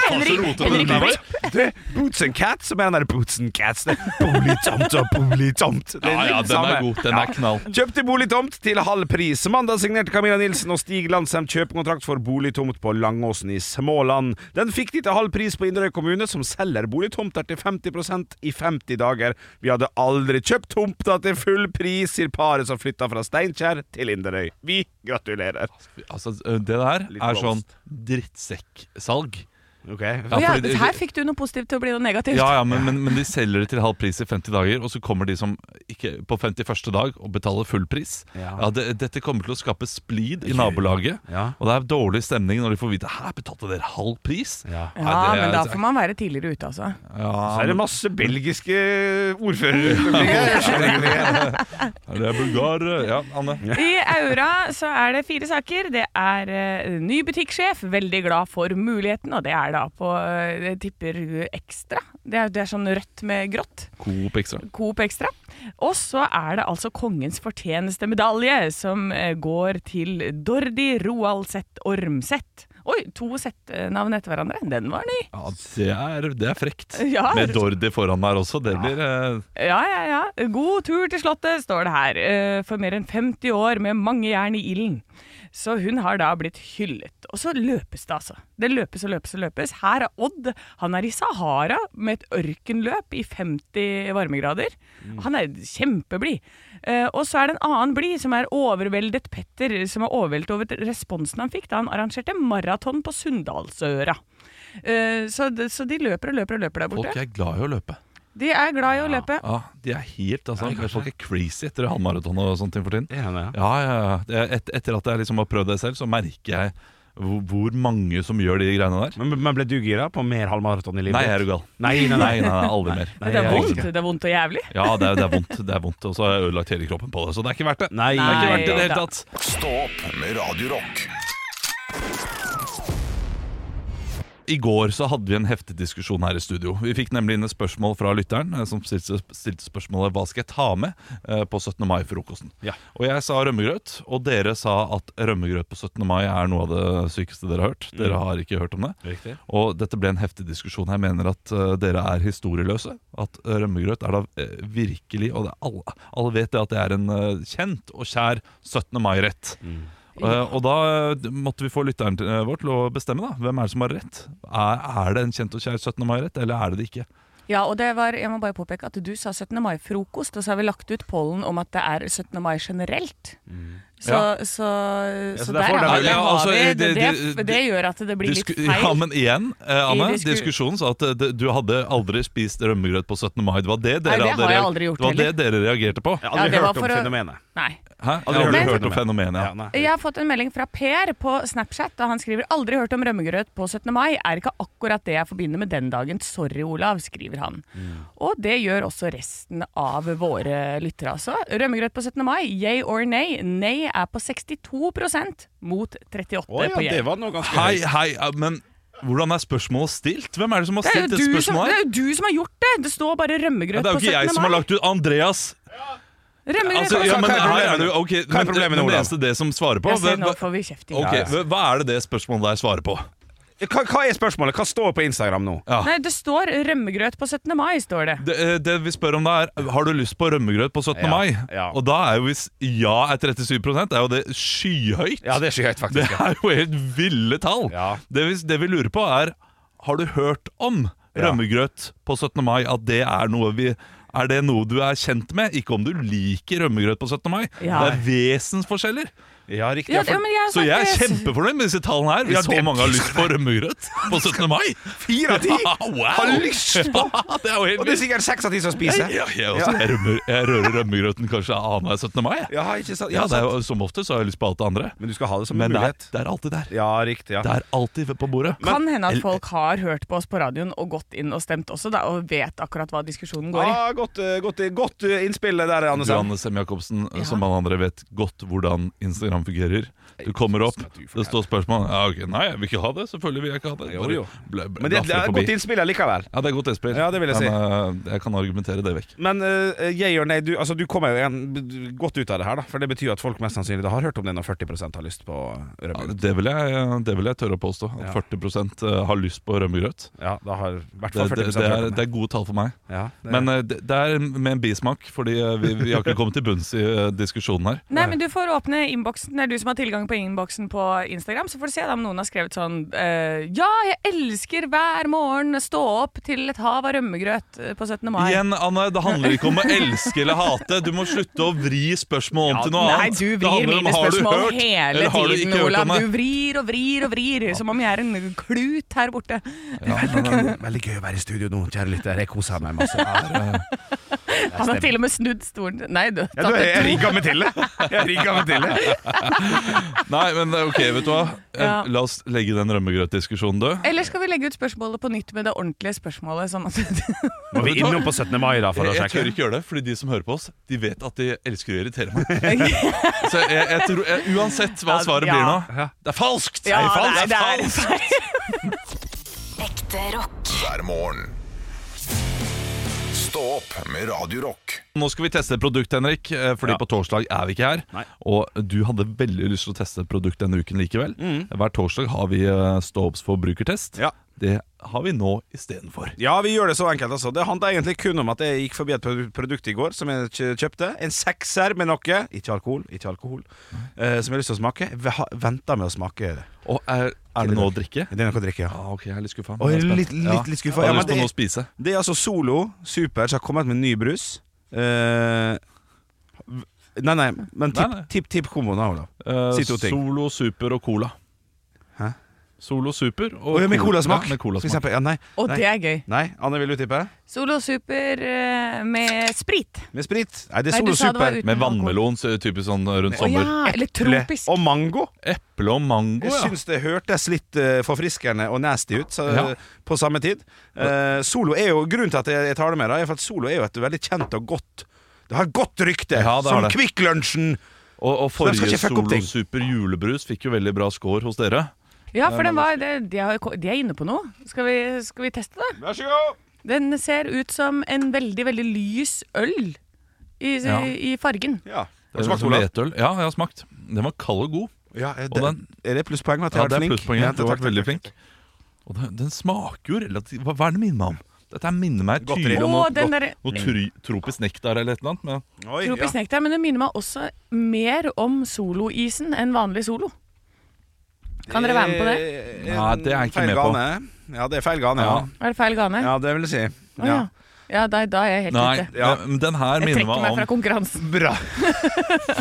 S2: faen så rotete den der var.
S1: Det er Boots and Cats, som er den der Boots and Cats. Det er Boligtomt og boligtomt. Det
S2: Ja, ja,
S1: litt
S2: den
S1: samme.
S2: er god. Den
S1: Ja.
S2: er knall.
S1: Kjøpte boligtomt til halv pris. Mandag signerte Camilla Nilsen og Stig Landsem kjøpekontrakt for boligtomt på Langåsen i Småland. Den fikk de til halv pris på Inderøy kommune, som selger boligtomter til 50 i 50 dager. Vi hadde aldri kjøpt tomta til full pris, sier paret som flytta fra Steinkjer til Inderøy. Vi gratulerer.
S2: Altså, det der
S1: Litt
S2: er sånn
S1: blomst.
S2: drittsekksalg.
S3: Å ja,
S2: fordi det-
S3: her fikk du noe positivt til å bli noe negativt.
S2: Ja, ja, men, men, men de selger det til halv pris i 50 dager, og så kommer de som ikke, på 51. dag og betaler full pris.
S1: Ja.
S2: Ja, det, dette kommer til å skape splid i nabolaget,
S1: Ja.
S2: og det er dårlig stemning når de får vite Hæ, betalte dere halv pris?
S1: Ja.
S3: Ja,
S2: Nei, det er-
S3: men da får man være tidligere ute, altså.
S2: Ja,
S1: Så er det masse belgiske ordførere.
S2: Er det bulgarere? Ja, Anne.
S3: I Aura så er det fire saker. Det er eh, ny butikksjef, veldig glad for muligheten, og det er da på eh, jeg tipper Extra. Det er, det er sånn rødt med grått.
S2: Coop Extra.
S3: Coop Extra. Og så er det altså Kongens fortjenestemedalje, som eh, går til Dordi Roaldseth Ormseth. Oi, to Z-navn etter hverandre. Den var ny.
S2: Ja, det er, det er frekt.
S3: Ja.
S2: Med Dordi foran der også. Det blir eh,
S3: Ja, ja, ja. God tur til Slottet, står det her. eh, For mer enn 50 år med mange jern i ilden. Så hun har da blitt hyllet. Og så løpes det, altså. Det løpes og løpes og løpes. Her er Odd. Han er i Sahara med et ørkenløp i 50 varmegrader. Han er kjempeblid. Eh, Og så er det en annen blid, som er overveldet Petter, som er overveldet over responsen han fikk da han arrangerte maraton på Sunndalsøra. Eh, Så de, så de løper og løper og løper der borte.
S2: Folk er glad i å løpe.
S3: De er glad i å løpe.
S2: Ja, de er helt, altså, Folk er crazy etter halvmaraton og sånt ting for tiden. Ja, ja, ja. Det er Et, etter at jeg liksom har prøvd det selv, så merker jeg hvor, hvor mange som gjør de greiene der.
S1: Men, men ble du gira på mer halvmaraton i livet?
S2: Nei, er du gal.
S1: Nei, nei, nei.
S2: Nei, nei, nei aldri mer.
S1: Nei,
S3: Det er
S1: jeg
S3: vondt,
S1: elsker
S3: det er vondt og jævlig.
S2: Ja, det er, det er vondt, det er vondt, og så har jeg ødelagt hele kroppen på det. Så det er ikke verdt det.
S1: Nei,
S2: Det er ikke
S3: Nei,
S2: verdt det i det hele
S3: da.
S2: tatt.
S5: Stå opp med Radio Rock.
S2: I går så hadde vi en heftig diskusjon her i studio. Vi fikk nemlig inn et spørsmål fra lytteren eh, som stilte, stilte spørsmålet hva skal jeg ta med eh, på 17. mai-frokosten.
S1: Ja.
S2: Og jeg sa rømmegrøt, og dere sa at rømmegrøt på 17. mai er noe av det sykeste dere har hørt.
S1: Mm.
S2: Dere har ikke hørt om det.
S1: Riktig.
S2: Og dette ble en heftig diskusjon. Jeg mener at eh, dere er historieløse. At eh, rømmegrøt er da eh, virkelig Og det er alle, alle vet det at det er en eh, kjent og kjær 17. mai-rett. Eh, og da eh, måtte vi få lytteren til- eh, vår til å bestemme da hvem er det som har rett. Er, er det en kjent og kjær 17. mai-rett, eller er det det ikke?
S3: Ja, og det var, jeg må bare påpeke at du sa 17. mai-frokost, og så har vi lagt ut pollen om at det er 17. mai generelt. Så,
S2: Mm. Ja.
S3: så, så,
S1: så
S3: der,
S1: der får
S3: er-
S1: dere-
S3: der
S2: Ja,
S3: har
S2: altså,
S3: vi det,
S2: det-
S3: det,
S2: det-
S3: det gjør at det blir litt
S2: Disku-
S3: feil.
S2: Ja, men igjen, eh, Anne,
S3: disku-
S2: diskusjonen sa at eh, det- du hadde aldri spist rømmegrøt på 17. mai. Det var det
S3: Nei,
S2: dere,
S3: det har
S2: hadde,
S3: jeg
S2: reag-
S3: aldri gjort
S2: det, var det dere reagerte på.
S1: Jeg
S2: Hæ?
S1: har aldri
S3: Ja, det var
S1: hørt om
S3: for å-
S1: fenomenet.
S3: Nei.
S2: Jeg har aldri
S3: Men-
S2: hørt om fenomenet. Ja.
S1: nei.
S3: Jeg har fått en melding fra Per på Snapchat, og han skriver aldri hørt om rømmegrøt på 17. mai. Er ikke akkurat det jeg forbinder med den dagen. Sorry, Olav, skriver han.
S2: Mm.
S3: Og det gjør også resten av våre lyttere, altså. Rømmegrøt på 17. mai, yay or nay? Nei er på 62 mot
S1: Å
S3: 38
S1: ja,
S3: på
S1: det
S3: yay.
S1: var noe ganske
S2: Hei,
S1: høyt.
S2: hei, ja, men hvordan er spørsmålet stilt? Hvem er det som har
S3: Det er,
S2: stilt
S3: jo
S2: dette
S3: du som,
S2: spørsmålet?
S3: det
S2: her?
S3: er jo du som har gjort det! Det står bare
S2: Ja,
S3: rømmegrøt
S2: det er
S3: på 17.
S2: jo ikke jeg som har
S3: mai.
S2: lagt ut Andreas!
S3: Rømmegrøt
S2: Altså,
S3: på
S2: ja,
S3: 17.
S2: men
S1: hva er
S2: her
S1: problemet?
S2: er du, ok,
S1: Hva er
S2: men,
S1: problemet,
S2: men det
S1: Olav?
S2: eneste det som svarer på
S3: Jeg ser,
S2: hva-
S3: nå
S2: hva-
S3: får vi kjeft. i
S2: Ok,
S3: dag.
S2: hva- Hva er det det spørsmålet der svarer på?
S1: Hva, hva er spørsmålet? Hva står på Instagram nå?
S2: Ja.
S3: Nei, det står rømmegrøt på 17. mai, står det.
S2: Det, eh, det vi spør om da er Har du lyst på rømmegrøt på 17.
S1: Ja,
S2: mai?
S1: ja.
S2: Og da er jo hvis ja er 37 er jo det skyhøyt.
S1: Ja, det er skyhøyt,
S2: Det
S1: faktisk.
S2: er jo helt ville tall.
S1: Ja.
S2: Det, vi, det vi lurer på, er Har du hørt om
S1: Ja.
S2: rømmegrøt på 17. mai? At det er noe vi er det noe du er kjent med? Ikke om du liker rømmegrøt på 17. mai.
S3: Ja. Altså,
S2: Det er vesensforskjeller.
S1: Ja, riktig. ja,
S3: Ja,
S1: for
S3: men jeg har
S2: Så jeg er
S3: sagt-
S2: kjempefornøyd med disse tallene her. Hvis
S1: Ja, det-
S2: så mange har lyst på rømmegrøt på 17. mai.
S1: Fire av ti
S2: Ja, wow.
S1: har lyst på!
S2: det er jo helt
S1: Og det er sikkert seks av ti som spiser.
S2: Ja, jeg, også, jeg, rømmer, jeg rører rømmegrøten kanskje annenhver 17. mai. jeg.
S1: Ja, ikke sant?
S2: Ja,
S1: Ja,
S2: det er jo, som ofte så har jeg lyst på alt det andre.
S1: Men du skal ha det som en
S2: Men det er,
S1: mulighet.
S2: det er alltid der.
S1: Ja, riktig. ja
S2: Det er alltid på bordet.
S3: Kan hende at folk har hørt på oss på radioen og gått inn og stemt også, da, og vet akkurat hva diskusjonen går i.
S1: Ah, godt, eh, godt, eh, godt eh, innspill der, Anne
S2: Du,
S1: Sand.
S2: Anne Sem Jacobsen,
S3: Ja.
S2: som alle andre vet godt hvordan han fungerer. Du kommer opp, det står spørsmål ja, ok, Nei, jeg vil ikke ha det. Selvfølgelig vil jeg ikke ha det.
S1: Jo, jo.
S2: Ble, ble,
S7: Men det, det er et godt innspill likevel.
S2: Ja, det er godt innspill.
S1: Ja, det vil jeg si.
S2: Men, eh, jeg kan argumentere det vekk.
S1: Men eh, jeg og nei, du, altså, du kommer jo igjen godt ut av det her, da. For det betyr jo at folk mest sannsynlig da har hørt om det når 40 har lyst på
S2: Ja,
S1: rødbrød.
S2: det, vil jeg, det vil jeg tørre å påstå. At 40 har lyst på rømmegrøt.
S1: Ja, da har i hvert
S2: Det,
S1: fall 40
S2: det, det,
S1: hørt
S2: er,
S1: om
S2: det er gode tall for meg.
S1: Ja, det er-
S2: Men eh, det, det er med en bismak, fordi eh, vi, vi har ikke kommet til bunns i eh, diskusjonen her.
S3: Nei, men du får åpne innboksen. Det er du som har tilgang på innboksen på Instagram. Så får du se da om noen har skrevet sånn eh, Ja, jeg elsker hver morgen stå opp til et hav av rømmegrøt eh, på 17. mai.
S2: Igjen, Anne, det handler ikke om å elske eller hate. Du må slutte å vri spørsmålet om til noe
S3: Nei,
S2: annet.
S3: du
S2: Det
S3: vrir
S2: handler om,
S3: mine
S2: har du
S3: spørsmål
S2: hørt,
S3: hele
S2: eller har du
S3: tiden,
S2: ikke hørt om
S3: Olav.
S2: det?
S3: Du vrir og vrir og vrir, som om jeg er en klut her borte.
S1: Veldig, veldig gøy å være i studio nå, kjære lytter. Jeg koser meg masse.
S3: Han har til og med snudd stolen Nei, du.
S1: Ja, du, jeg rigga meg til det. Jeg rigga meg til det.
S2: Nei, men det er ok, vet du hva. Eh,
S3: Ja.
S2: La oss legge den rømmegrøtdiskusjonen død.
S3: Eller skal vi legge ut spørsmålet på nytt med det ordentlige spørsmålet? Sånn at
S1: Må vi innom på 17. mai, da, for å
S2: Jeg, jeg tør
S1: sjekke?
S2: ikke gjøre det, fordi de som hører på oss, de vet at de elsker å irritere meg. Så jeg, jeg tror, jeg, uansett hva
S3: Ja,
S2: svaret blir
S3: ja.
S2: nå, det er falskt!
S3: Ja,
S2: det
S3: nei,
S2: er falskt!
S3: det er
S2: falskt.
S4: Ekte rock.
S5: hver morgen. Stå opp med Radio Rock.
S2: Nå skal vi teste et produkt, Henrik, eh, fordi på torsdag er vi ikke her.
S1: Nei.
S2: Og du hadde veldig lyst til å teste et produkt denne uken likevel. Hver torsdag har vi eh, Ståhopps forbrukertest.
S1: Ja.
S2: Det har vi nå istedenfor.
S1: Ja, vi gjør det så enkelt, altså. Det handla egentlig kun om at jeg gikk forbi et produ- produkt i går som jeg kjø- kjøpte. En sekser med noe. Ikke alkohol, ikke alkohol. Eh, som jeg har lyst til å smake. Jeg har- Venter med å smake det.
S2: Og er, er det nå å drikke?
S1: Det er noe å drikke, ja.
S2: Ja, ok, jeg er litt skuffa.
S1: Oi,
S2: Jeg er spent.
S1: litt- litt-
S2: Ja.
S1: litt skuffa.
S2: Jeg
S1: Ja,
S2: har
S1: men
S2: lyst på
S1: det-
S2: noe å spise.
S1: Det er altså Solo Super som har kommet med en ny brus. Eh, v- nei, nei, men tipp,
S2: Nei, nei.
S1: tipp, tipp komboen da, Olav.
S2: Eh,
S1: Si to ting.
S2: Solo, Super og Cola.
S1: Hæ?
S2: Solo, Super og
S1: Å, ja, med colasmak.
S2: Ja, med
S1: For
S2: colasmak.
S1: eksempel. Ja, nei.
S3: Og
S1: nei.
S3: det er gøy.
S1: nei, Anne, vil du tippe?
S3: Solo Super eh, med sprit.
S1: Med sprit. Nei, det er
S3: Nei,
S1: Solo
S3: du sa det var
S1: Super.
S3: uten
S2: Med
S3: alkohol.
S2: vannmelon, så er det typisk sånn rundt
S3: Å
S2: sommer.
S3: ja, eller tropisk.
S1: Og mango.
S2: Eple og mango,
S1: Jeg
S2: ja.
S1: syns det hørtes litt eh, forfriskende og nasty ut så,
S2: Ja.
S1: på samme tid. Eh, solo er jo Grunnen til at jeg, jeg tar det med, da, er for at Solo er jo et veldig kjent og godt Det har et godt rykte,
S2: Ja, det
S1: som
S2: har det.
S1: Kvikk Lunsjen.
S2: Og, og
S1: Så de skal
S2: forrige
S1: ikke fucke opp ting.
S2: Solo Super julebrus fikk jo veldig bra score hos dere.
S3: Ja, for den var, det, de, har, de er inne på noe. Skal vi, skal vi teste det?
S1: Vær så god!
S3: Den ser ut som en veldig, veldig lys øl i,
S2: Ja.
S3: i fargen.
S1: Ja. Har du
S2: Det er
S1: smakt,
S2: som
S1: Olav?
S2: hvetøl. Ja, jeg har smakt. Den var kald og god.
S1: Ja, er,
S2: Og
S1: det,
S2: den-
S1: er det plusspoeng med at jeg
S2: Ja,
S1: har
S2: det er
S1: vært flink?
S2: plusspoenget.
S1: Ja,
S2: Du har vært veldig flink. Og den, den smaker jo relativt Hva, hva er det minner meg om? Dette her minner meg
S1: Godteri.
S2: tydelig om
S3: Å,
S2: noe,
S3: den
S2: godt-
S3: der-
S2: noe try, tropisk nektar eller et eller annet. Men
S1: Oi, ja.
S3: Tropisk nektar, men den minner meg også mer om soloisen enn vanlig solo. Kan dere være med på det?
S1: Eh,
S2: Nei, det er jeg ikke
S1: feil
S2: med på.
S1: gane. Ja, det er feil gane, ja.
S3: Er det feil gane?
S1: Ja, det vil jeg si.
S3: Å
S1: Ja.
S3: ja. ja da, da er jeg helt
S2: nei,
S3: ute.
S2: ja. men den her
S3: Jeg
S2: minner
S3: trekker meg
S2: meg
S3: fra
S2: om
S3: konkurransen.
S1: Bra.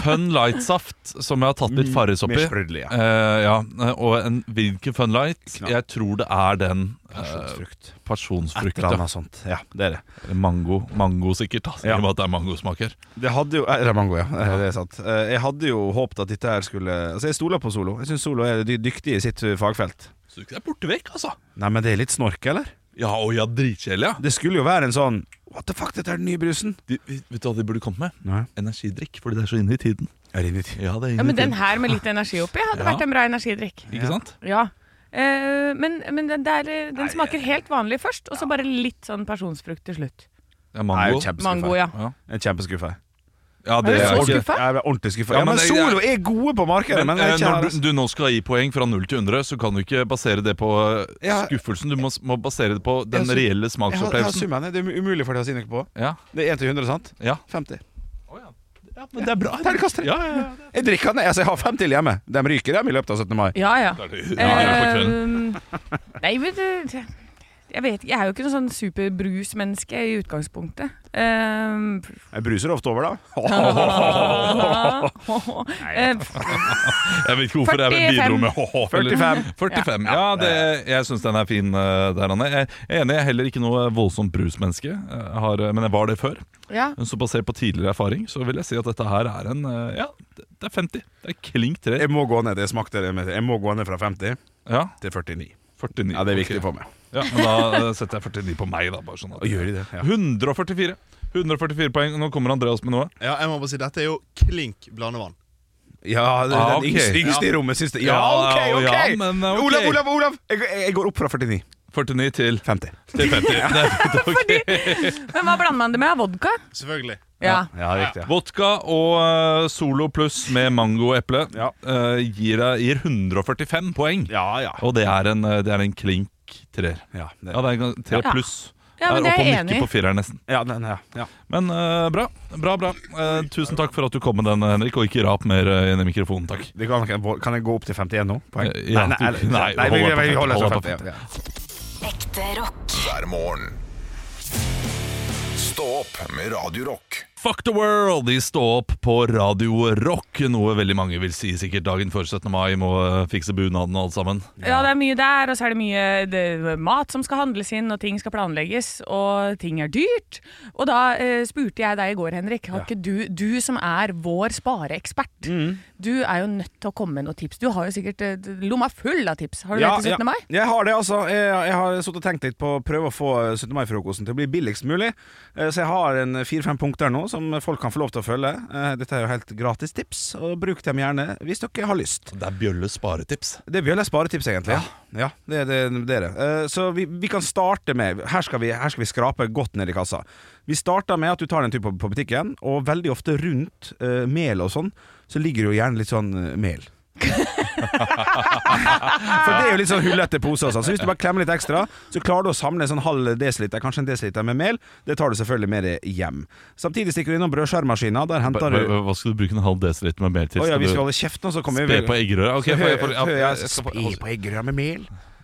S2: Fun Light-saft, som jeg har tatt litt Farris oppi.
S1: Mm, Mer sprudelig, ja.
S2: Eh, ja. Og en hvilken Fun Light?
S1: sant.
S2: Jeg tror det er den. eh,
S1: Frukt. Et
S2: Pasjonsfrukt.
S1: eller
S2: Ja.
S1: annet sånt. Ja, det er det.
S2: Mango. Mango sikkert, da.
S1: Ja.
S2: I og med at det er mangosmak her.
S1: Det hadde jo Eller mango, ja. Eh, Det er sant. Eh, Jeg hadde jo håpet at dette her skulle Altså, jeg stoler på Solo. Jeg syns Solo er dy- dyktig i sitt eh, fagfelt.
S2: Så det er borte vekk, altså.
S1: Nei, men det er litt snork, eller?
S2: Ja, og ja, dritkjedelig, ja.
S1: Det skulle jo være en sånn What the fuck, dette er den nye brusen.
S2: De, vet du hva de burde kommet med?
S1: Nei.
S2: Energidrikk, fordi det er så inne i tiden.
S1: Er det ditt?
S2: Ja, det
S3: Ja,
S2: er inne
S3: Men
S2: i tiden.
S3: den her med litt energi oppi hadde
S2: Ja.
S3: vært en bra energidrikk.
S2: Ikke sant?
S3: Ja. Eh, men men den, der, eh, den smaker helt vanlig først, og så bare litt sånn personsfrukt til slutt.
S1: Nei,
S2: Ja,
S1: jeg
S2: mango.
S1: er kjempeskuffa.
S3: Mango, ja.
S2: Ja.
S1: Jeg er kjempeskuffa.
S2: Ja, det
S3: Er du
S2: er
S3: så
S2: ikke-
S3: skuffa?
S1: Jeg er ordentlig skuffa. Ja,
S2: Ja,
S1: men,
S2: men det-
S1: Solo er gode på markedet, men,
S2: eh,
S1: jeg er ikke altså.
S2: når du, du nå skal gi poeng fra 0 til 100, så kan du ikke basere det på eh,
S1: Ja.
S2: skuffelsen. Du må, må basere det på den
S1: Jeg har-
S2: reelle
S1: Jeg har, jeg har
S2: smaksopplevelsen.
S1: summen. Det er umulig for deg å si noe på.
S2: Ja,
S1: Det er 1 til 100, sant?
S2: ja.
S1: 50.
S2: ja, men det er bra.
S1: Terningkast tre.
S2: Ja, ja, ja.
S1: Jeg drikker den, altså jeg har fem til hjemme. De ryker dem i løpet av 17. mai.
S3: Ja, ja.
S2: ja, på kvelden.
S3: Eh, nei, men det, jeg vet Jeg er jo ikke noe sånn superbrusmenneske i utgangspunktet. Eh,
S1: Jeg bruser ofte over, da.
S3: eh,
S2: Jeg vet ikke hvorfor jeg
S3: 45.
S2: bidro med ho-ho.
S1: 45.
S2: 45. Ja, det, jeg syns den er fin eh, der, Anne. Jeg er enig, jeg er heller ikke noe voldsomt brusmenneske, Jeg har, eh, men jeg var det før.
S3: ja.
S2: Så basert på tidligere erfaring så vil jeg si at dette her er en eh, Ja, det det er 50. Det er klink tre.
S1: Jeg må gå ned jeg smakte det med. Jeg må gå ned fra 50
S2: Ja,
S1: til 49.
S2: 49.
S1: Ja, Det er viktig
S2: Ok.
S1: for meg.
S2: Ja, men da eh, setter jeg 49 på meg, da. Bare sånn at
S1: Og gjør de det? Ja.
S2: 144. 144 poeng. Nå kommer Andreas med noe.
S8: Ja, jeg må bare si Dette er jo klink blandevann.
S1: Ja, den
S2: Ah, ok.
S1: yngste, yngste i rommet syns det. Ja, OK!
S2: Ja,
S1: ok,
S2: ja, men, ok.
S1: Olav, Olav! Olav jeg, jeg går opp fra 49.
S2: 49 til
S1: 50.
S2: Til 50. Nei, ok.
S3: Men hva blander man det med? Vodka?
S8: Selvfølgelig.
S3: Ja.
S1: Ja, riktig.
S2: Vodka og eh, Solo pluss med mango og eple
S1: Ja.
S2: eh, gir, deg- gir 145 poeng.
S1: Ja, ja.
S2: Og det er en, eh, det er en klink treer.
S1: Ja, det-
S2: Ja, det er en gang- tre
S3: Ja.
S2: pluss.
S3: Ja, men det er
S2: oppe og
S3: jeg
S2: nikker
S3: enig i.
S2: på fireren nesten.
S1: Ja, den- ja, ja.
S2: Men eh, bra. bra, bra Eh, Tusen takk for at du kom med den, Henrik, og ikke rap mer eh, inn i mikrofonen. Takk.
S1: Det kan, ikke- kan jeg gå opp til 51 nå? Poeng?
S2: Eh, ja,
S1: nei,
S2: du-
S1: nei,
S2: nei,
S1: nei, vi,
S2: hold deg på
S1: vi, vi holder oss på
S2: hold deg på
S1: 50. Ja.
S4: Ekte rock.
S5: hver morgen. Stå opp med Radio Rock.
S2: Fuck the world! De står opp på Radio Rock, noe veldig mange vil si sikkert dagen før 17. mai. Må eh, fikse bunaden og alt sammen.
S3: Ja, det er mye der, og så er det mye det, er mat som skal handles inn, og ting skal planlegges, og ting er dyrt. Og da eh, spurte jeg deg i går, Henrik, har ikke du, du som er vår spareekspert, du er jo nødt til å komme med noen tips. Du har jo sikkert eh, lomma full av tips. Har du det til 17. mai?
S1: Jeg har det, altså. Jeg, jeg har suttet og tenkt litt på å prøve å få eh, 17. mai-frokosten til å bli billigst mulig. Eh, Så jeg har en fire-fem punkter nå som folk kan få lov til å følge. Eh, Dette er jo helt gratis tips, og bruk dem gjerne hvis dere har lyst.
S2: Det er Bjølles sparetips.
S1: Det blir vel et sparetips, egentlig. Ja, det, det, det er det. Eh, Så vi, vi kan starte med her skal, vi, her skal vi skrape godt ned i kassa. Vi starter med at du tar en tur på, på butikken, og veldig ofte rundt eh, mel og sånn, så ligger det jo gjerne litt sånn eh, mel. For det er jo litt sånn hullete pose og sånn. Så hvis du bare klemmer litt ekstra, så klarer du å samle en sånn halv desiliter, kanskje en desiliter med mel. Det tar du selvfølgelig med deg hjem. Samtidig stikker du innom brødskjærmaskina. Der
S2: Hva,
S1: henter du
S2: hva- hva skal du bruke en halv desiliter med mer til?
S1: Å ja,
S2: Skal
S1: hvis vi
S2: du-
S1: holder kjeft nå, så kommer vi
S2: Spe på eggerøra?
S1: Så
S2: Ok, får
S1: hører
S2: jeg- får- ja,
S1: hører
S2: jeg
S1: jeg
S2: skal få-
S1: Spe på eggerøra med mel?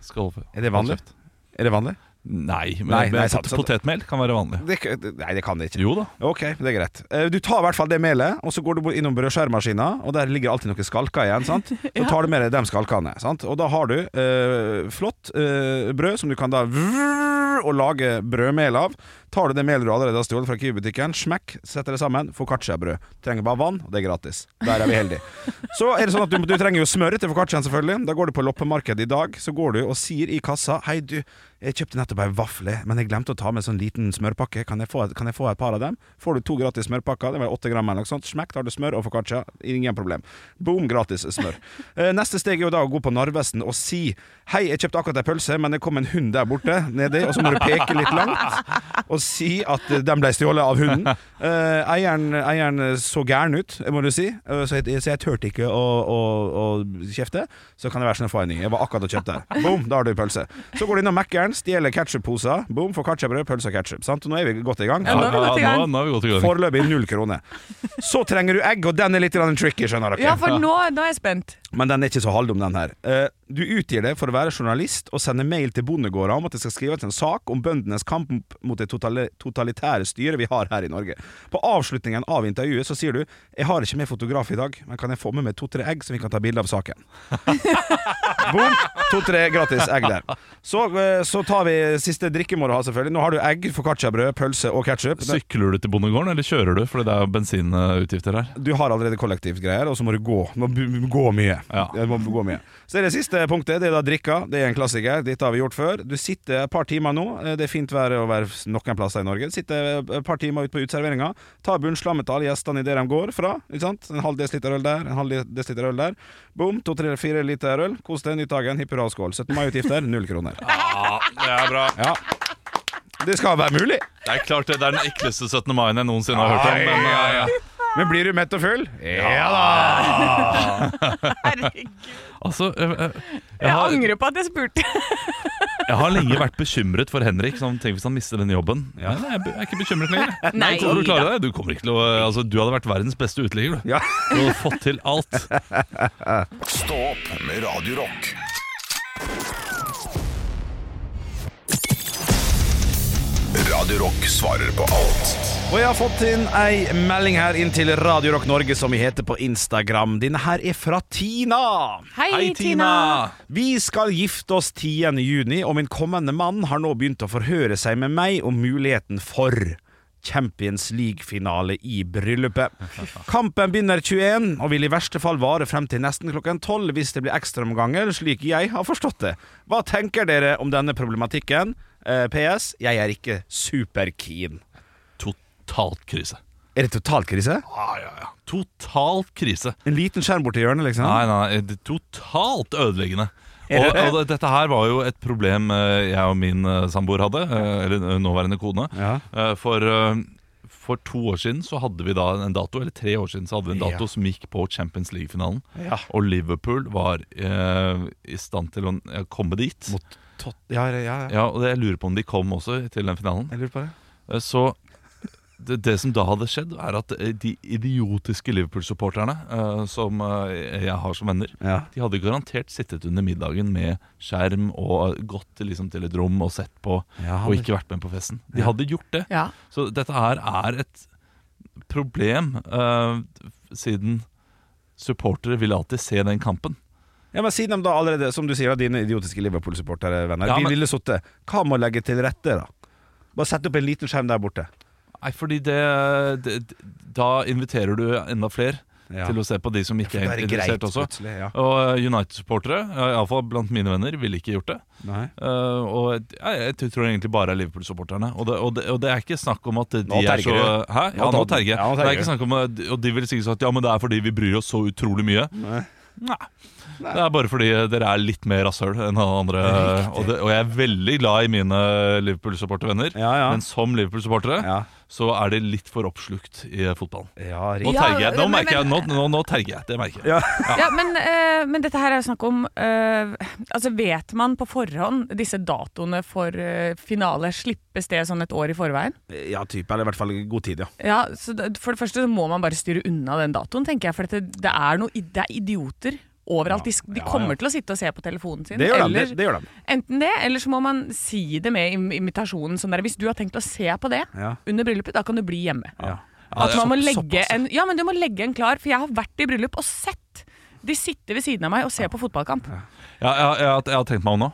S2: skal holde på.
S1: Er det vanlig?
S2: Hold kjeft.
S1: Er det vanlig?
S2: Nei,
S1: Nei,
S2: men men
S1: nei,
S2: pot-
S1: sant, sant.
S2: potetmel kan være vanlig.
S1: Det, k- nei, det kan det ikke.
S2: Jo da.
S1: Ok, det er greit. Eh, Du tar i hvert fall det melet, og så går du innom brødskjærmaskina, og der ligger alltid noen skalker igjen. sant? Så tar du med deg de skalkene. sant? Og da har du eh, flott eh, brød som du kan da vrrr, og lage brødmel av. Tar du det melet du allerede har stjålet fra Kiwi-butikken, smekk, setter det sammen, foccacciabrød. Trenger bare vann, og det er gratis. Der er vi heldige. Så er det sånn at du, du trenger jo smør til foccacciaen, selvfølgelig. Da går du på loppemarkedet i dag, så går du og sier i kassa Hei, du, jeg kjøpte nettopp ei vafle, men jeg glemte å ta med en sånn liten smørpakke. Kan jeg få, kan jeg få et par av dem? Får du to gratis smørpakker, det var åtte gram eller noe sånt. Smekk, da har du smør og foccaccia. Ingen problem. Boom, gratis smør. Eh, Neste steg er jo da å gå på Narvesen og si Hei, jeg kjøpte akkurat ei pølse, men det kom en hund der borte nedi, og så må du peke litt langt og si at eh, den ble stjålet av hunden. Eh, eieren, eieren så gæren ut, må du si, Eh, så jeg, så jeg turte ikke å, å, å kjefte. Så kan det være sånn å få en ny. Jeg var akkurat og kjøpte. Boom, da har du pølse. Så går du innom Mækkern, stjeler ketsjupposer. Boom, får ketsjupbrød, pølse og ketsjup. Nå er vi godt i gang.
S3: Ja, nå er vi godt i gang.
S2: nå, nå er vi godt i gang.
S1: Foreløpig null kroner. Så trenger du egg, og den er litt grann tricky, skjønner dere.
S3: Ja, for nå, nå er jeg spent.
S1: Men den er ikke så halvdum, den her. Eh, Du utgir deg for å være journalist og sender mail til bondegårder om at det skal skrives en sak om bøndenes kamp mot det totali- totalitære styret vi har her i Norge. På avslutningen av intervjuet så sier du 'Jeg har ikke med fotograf i dag, men kan jeg få med meg to-tre egg, så vi kan ta bilde av saken'? Boom! To-tre gratis egg der. Så, eh, så tar vi siste drikke må du ha, selvfølgelig. Nå har du egg, foccacciabrød, pølse og ketsjup.
S2: Sykler du til bondegården, eller kjører du? Fordi det er jo bensinutgifter her.
S1: Du har allerede kollektivgreier, og så må du gå. Du må bu- gå mye.
S2: Ja.
S1: Du må gå mye. Så er det siste punktet. Det er da drikka. Det er en klassiker. Dette har vi gjort før. Du sitter et par timer nå. Eh, Det er fint vær å være noen plasser i Norge. Sitter eh, et par timer ute på uteserveringa. Tar bunnslammet til alle gjestene idet de går fra. Ikke sant? En halv desiliter øl der, en halv desiliter øl der. Bom, to, tre, fire liter øl. Kos deg, nytt dagen. Hipp hurra og skål. 17. mai-utgifter null kroner.
S2: Det er bra.
S1: Ja. Det skal være mulig.
S2: Det er klart det, det er den ekleste 17. mai jeg noensinne har hørt om. Men, eh,
S1: Men blir du mett og full? Ja da.
S3: Herregud.
S2: altså, eh, eh, jeg
S3: Jeg
S2: har,
S3: angrer på at jeg spurte.
S2: jeg har lenge vært bekymret for Henrik. Sånn, tenk hvis han mister den jobben. Men jeg er be- jeg er ikke bekymret lenger.
S3: Nei,
S2: Kommer du, til å
S3: da.
S2: klare deg? du kommer ikke til å eh, altså, Du hadde vært verdens beste uteligger, du.
S1: Ja.
S2: Du hadde fått til alt.
S5: Stå opp med Radio Rock. Radio Rock svarer på alt
S1: Og jeg har fått inn ei melding her inn til Radio Rock Norge, som vi heter på Instagram. Denne her er fra Tina.
S3: Hei,
S2: Hei,
S3: Tina.
S2: Tina!
S1: Vi skal gifte oss 10. juni, og min kommende mann har nå begynt å forhøre seg med meg om muligheten for Champions League-finale i bryllupet. Kampen begynner 21, og vil i verste fall vare frem til nesten klokken 12 hvis det blir ekstraomganger, slik jeg har forstått det. Hva tenker dere om denne problematikken? Eh, PS. Jeg er ikke superkeen.
S2: Totalt krise.
S1: Er det totalt krise?
S2: Ja, ja, ja. Total krise.
S1: En liten skjerm borti hjørnet, liksom?
S2: Nei, nei, nei, det er totalt ødeleggende.
S1: Er
S2: Og,
S1: det det?
S2: og det- dette her var jo et problem eh, jeg og min eh, samboer hadde, eh, eller eh, nåværende kone.
S1: Ja.
S2: Eh, For, eh, for to år siden så hadde vi da en dato, eller tre år siden så hadde vi en
S1: Ja.
S2: dato som gikk på Champions League-finalen.
S1: Ja.
S2: Og Liverpool var eh, i stand til å eh, komme dit.
S1: Mot tot... Ja, ja, ja.
S2: Ja, og det- jeg lurer på om de kom også til den finalen.
S1: Jeg lurer på det.
S2: Eh, Så det, det som da hadde skjedd, er at eh, de idiotiske Liverpool-supporterne eh, som eh, jeg har som venner,
S1: Ja.
S2: de hadde garantert sittet under middagen med skjerm og gått til, liksom, til et rom og sett på,
S1: Ja,
S2: og
S1: men-
S2: ikke vært med på festen. De hadde gjort det.
S3: Ja.
S2: Så dette her er et problem, eh, siden supportere vil alltid se den kampen.
S1: Ja, men Siden de da allerede, som du sier, da, dine idiotiske Liverpool-supportere, venner
S2: Ja,
S1: De
S2: men-
S1: ville sittet. Hva med å legge til rette, da? Bare sette opp en liten skjerm der borte.
S2: Nei, fordi det, det Da inviterer du enda flere
S1: Ja.
S2: til å se på de som ikke
S1: Det
S2: er
S1: er greit,
S2: interessert også.
S1: plutselig. Ja.
S2: Og eh, United-supportere, eh, i alle fall blant mine venner, ville ikke gjort det.
S1: Nei.
S2: Eh, og jeg, jeg t- tror egentlig bare er Liverpool-supporterne. Og, det- og, det- og det er ikke snakk om at de
S1: Nå
S2: er så
S1: terger
S2: Hæ?
S1: Nå
S2: Ja, nå
S1: tar-
S2: terger jeg.
S1: ja, nå
S2: Det er
S1: terger
S2: ikke snakk om at- Og de vil sikkert si at ja, men det er fordi vi bryr oss så utrolig mye.
S1: Nei.
S2: Nei. Det er bare fordi dere er litt mer rasshøl enn alle andre. Og, det, og jeg er veldig glad i mine Liverpool-supportervenner,
S1: Ja, ja.
S2: men som Liverpool-supportere
S1: Ja.
S2: så er de litt for oppslukt i fotballen.
S1: Ja,
S2: Nå
S1: riktig.
S3: Ja,
S2: terger jeg. Nå
S3: men-
S2: merker jeg, nå, nå, nå terger jeg. Det merker jeg.
S1: Ja.
S3: Ja, men, eh, men dette her er jo snakk om eh, Altså, vet man på forhånd disse datoene for eh, finale slippes det sånn et år i forveien?
S1: ja, type. Eller i hvert fall god tid, ja.
S3: Ja, så det- For det første så må man bare styre unna den datoen, tenker jeg. For dette, det, er noe, i- det er idioter overalt. De, s- de
S1: ja, ja.
S3: kommer til å sitte og se på telefonen sin.
S1: Det gjør de.
S3: eller,
S1: Det, det gjør de.
S3: Enten det, eller så må man si det med im- imitasjonen. Sånn der, hvis du har tenkt å se på det
S1: Ja.
S3: under bryllupet, da kan du bli hjemme.
S1: Ja.
S3: At
S2: det er
S3: man må
S2: så-
S3: legge
S2: såpass.
S3: en, ja, men du må legge en klar, for jeg har vært i bryllup og sett. De sitter ved siden av meg og ser på fotballkamp.
S2: Ja, jeg, jeg, har- jeg har tenkt meg om nå.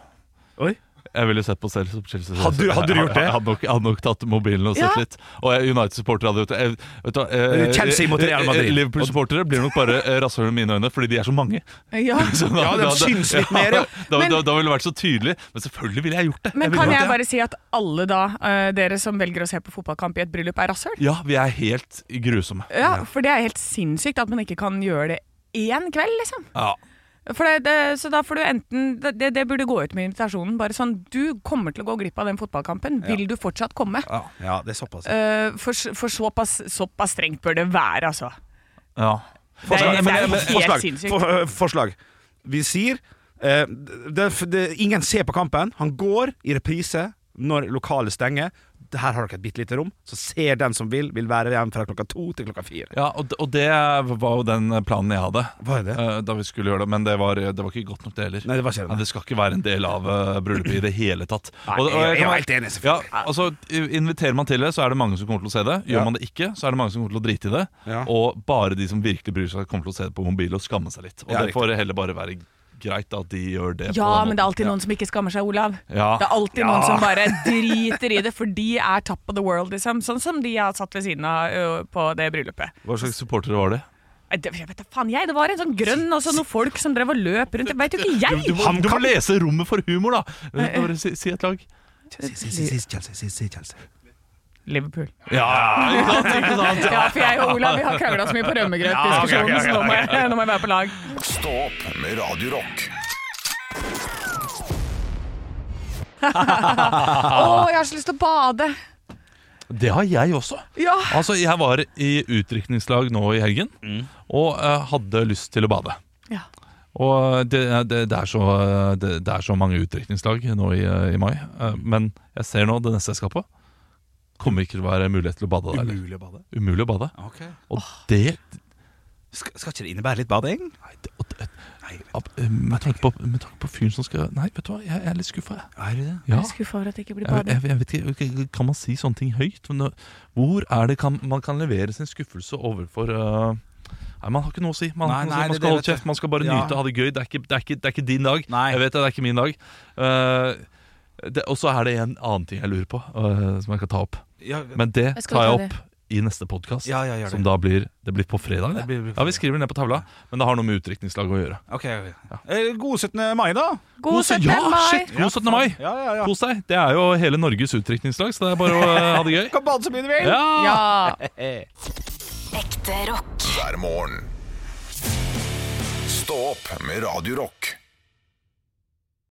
S1: Oi.
S2: Jeg ville sett på Chelsea. Chelsea
S1: Hadde du- hadde du gjort det?
S2: Jeg hadde nok, jeg hadde nok tatt mobilen og sett
S3: Ja.
S2: litt. Og jeg- United-supportere hadde gjort det. Jeg- vet du hva, eh,
S1: Chelsea mot Real Madrid.
S2: eh, Liverpool-supportere blir nok bare eh, rasshøl i mine øyne, fordi de er så mange.
S3: Ja.
S2: Så
S1: Ja, de syns litt mer, ja.
S2: Da,
S3: Men-
S2: da, da ville det vært så tydelig. Men selvfølgelig ville jeg gjort det.
S3: Men
S2: ville
S3: kan
S2: gjort
S3: jeg
S2: det.
S3: bare si at alle da, eh, dere som velger å se på fotballkamp i et bryllup, er rasshøl?
S2: Ja, vi er helt grusomme.
S3: Ja, for det er helt sinnssykt at man ikke kan gjøre det én kveld, liksom.
S2: Ja.
S3: For det, det, så da får du enten det, det burde gå ut med invitasjonen. Bare sånn Du kommer til å gå glipp av den fotballkampen. Vil du fortsatt komme?
S1: ja, det er såpass.
S3: Eh, for for såpass, såpass strengt bør det være, altså.
S2: ja.
S3: Det er, det er
S1: Men,
S3: helt
S1: forslag.
S3: sinnssykt.
S1: For, eh, forslag. Vi sier eh, det, det, Ingen ser på kampen. Han går i reprise når lokalet stenger. Her har dere et bitte lite rom, så ser den som vil, vil være igjen fra klokka to til klokka fire.
S2: Ja, og, og det var jo den planen jeg hadde
S1: Hva er det?
S2: eh, da vi skulle gjøre det. Men det var, det var ikke godt nok, det heller.
S1: Nei, det var ikke
S2: Nei,
S1: det.
S2: det skal ikke være en del av eh, bryllupet i det hele tatt.
S1: Nei,
S2: Og- og
S1: jeg- jeg
S2: kan
S1: er
S2: være-
S1: helt enig, selvfølgelig.
S2: Ja, altså, i- inviterer man til det, så er det mange som kommer til å se det. Gjør
S1: Ja.
S2: man det ikke, så er det mange som kommer til å drite i det.
S1: Ja.
S2: Og bare de som virkelig bryr seg, kommer til å se det på mobil og skamme seg litt. Og
S1: Ja,
S2: det får heller bare være greit at de gjør det.
S3: Ja,
S2: på den
S3: men det er
S2: måten.
S3: alltid noen som ikke skammer seg, Olav.
S2: Ja.
S3: Det er alltid noen som bare driter i det, for de er top of the world, liksom. Sånn som de jeg har satt ved siden av ø, på det bryllupet.
S2: Hva slags supportere var det?
S3: Nei, Det, jeg vet da faen jeg, det var en sånn grønn og så noen folk som drev og løp rundt. Det veit jo ikke
S2: Du, du,
S3: jeg!
S2: må, du må lese rommet for humor, da!
S3: Eh,
S2: Bare si, si et lag.
S3: Liverpool.
S2: Ja, ikke sant? Ikke sant?
S3: Ja, for jeg og Olav vi har krangla så mye på rømmegrøtdiskusjonen, så nå må, jeg, nå må jeg være på lag.
S5: Stå opp med Radio Rock.
S3: Å,
S2: Ah.
S3: jeg har så lyst til å bade!
S2: Det har jeg også.
S3: Ja.
S2: Altså, jeg var i utdrikningslag nå i helgen,
S1: Mm.
S2: og eh, hadde lyst til å bade.
S3: Ja.
S2: Og det, det, det, er så, eh, det, det er så mange utdrikningslag nå i, eh, i mai, eh, men jeg ser nå det neste jeg skal på. Kommer ikke til å være mulighet til å bade der. eller?
S1: Umulig å bade.
S2: Umulig å bade. Og det,
S1: Skal, skal ikke det innebære litt bading?
S2: nei, det, og det ab- eh, Med tanke på, med tanke på fyren som skal Nei, vet du hva, jeg, jeg er litt skuffa, jeg.
S1: Er det det?
S2: Ja.
S3: Skuffa over at det ikke blir
S2: Jeg,
S3: bading.
S2: jeg, jeg vet ikke, ok, Kan man si sånne ting høyt? Men, uh, Hvor er det kan, man kan levere sin skuffelse overfor uh, Nei, Man har ikke noe å si. Man,
S1: Nei,
S2: man-
S1: nei, det-
S2: man
S1: det
S2: skal holde
S1: vet jeg.
S2: kjeft, man skal bare
S1: Ja.
S2: nyte og ha det gøy. Det er ikke, det er ikke, det er ikke din dag.
S1: Nei.
S2: Jeg vet det, det er ikke min dag. Uh, det, og så er det en annen ting jeg lurer på, uh, som jeg kan ta opp.
S1: Ja,
S2: Men det
S3: Jeg skal
S2: tar jeg
S3: ta det.
S2: opp i neste podkast.
S1: Ja, ja, gjør det.
S2: som da blir Det blir på fredag.
S1: Det
S2: Det.
S1: blir- blir på
S2: ja, Vi skriver ned på tavla, men det har noe med utdrikningslaget å gjøre.
S1: ok, ok. Eh, God 17. mai, da.
S3: God 17.
S2: ja,
S3: mai!
S2: shit, god 17. mai!
S1: Ja, ja, ja.
S2: Kos deg. Det er jo øh, hele Norges utdrikningslag, så det er bare å uh, ha det gøy.
S1: Kan bade så mye du vil.
S2: Ja!
S3: Ja.
S4: Ekte rock.
S5: hver morgen. Stå opp med Radio Rock.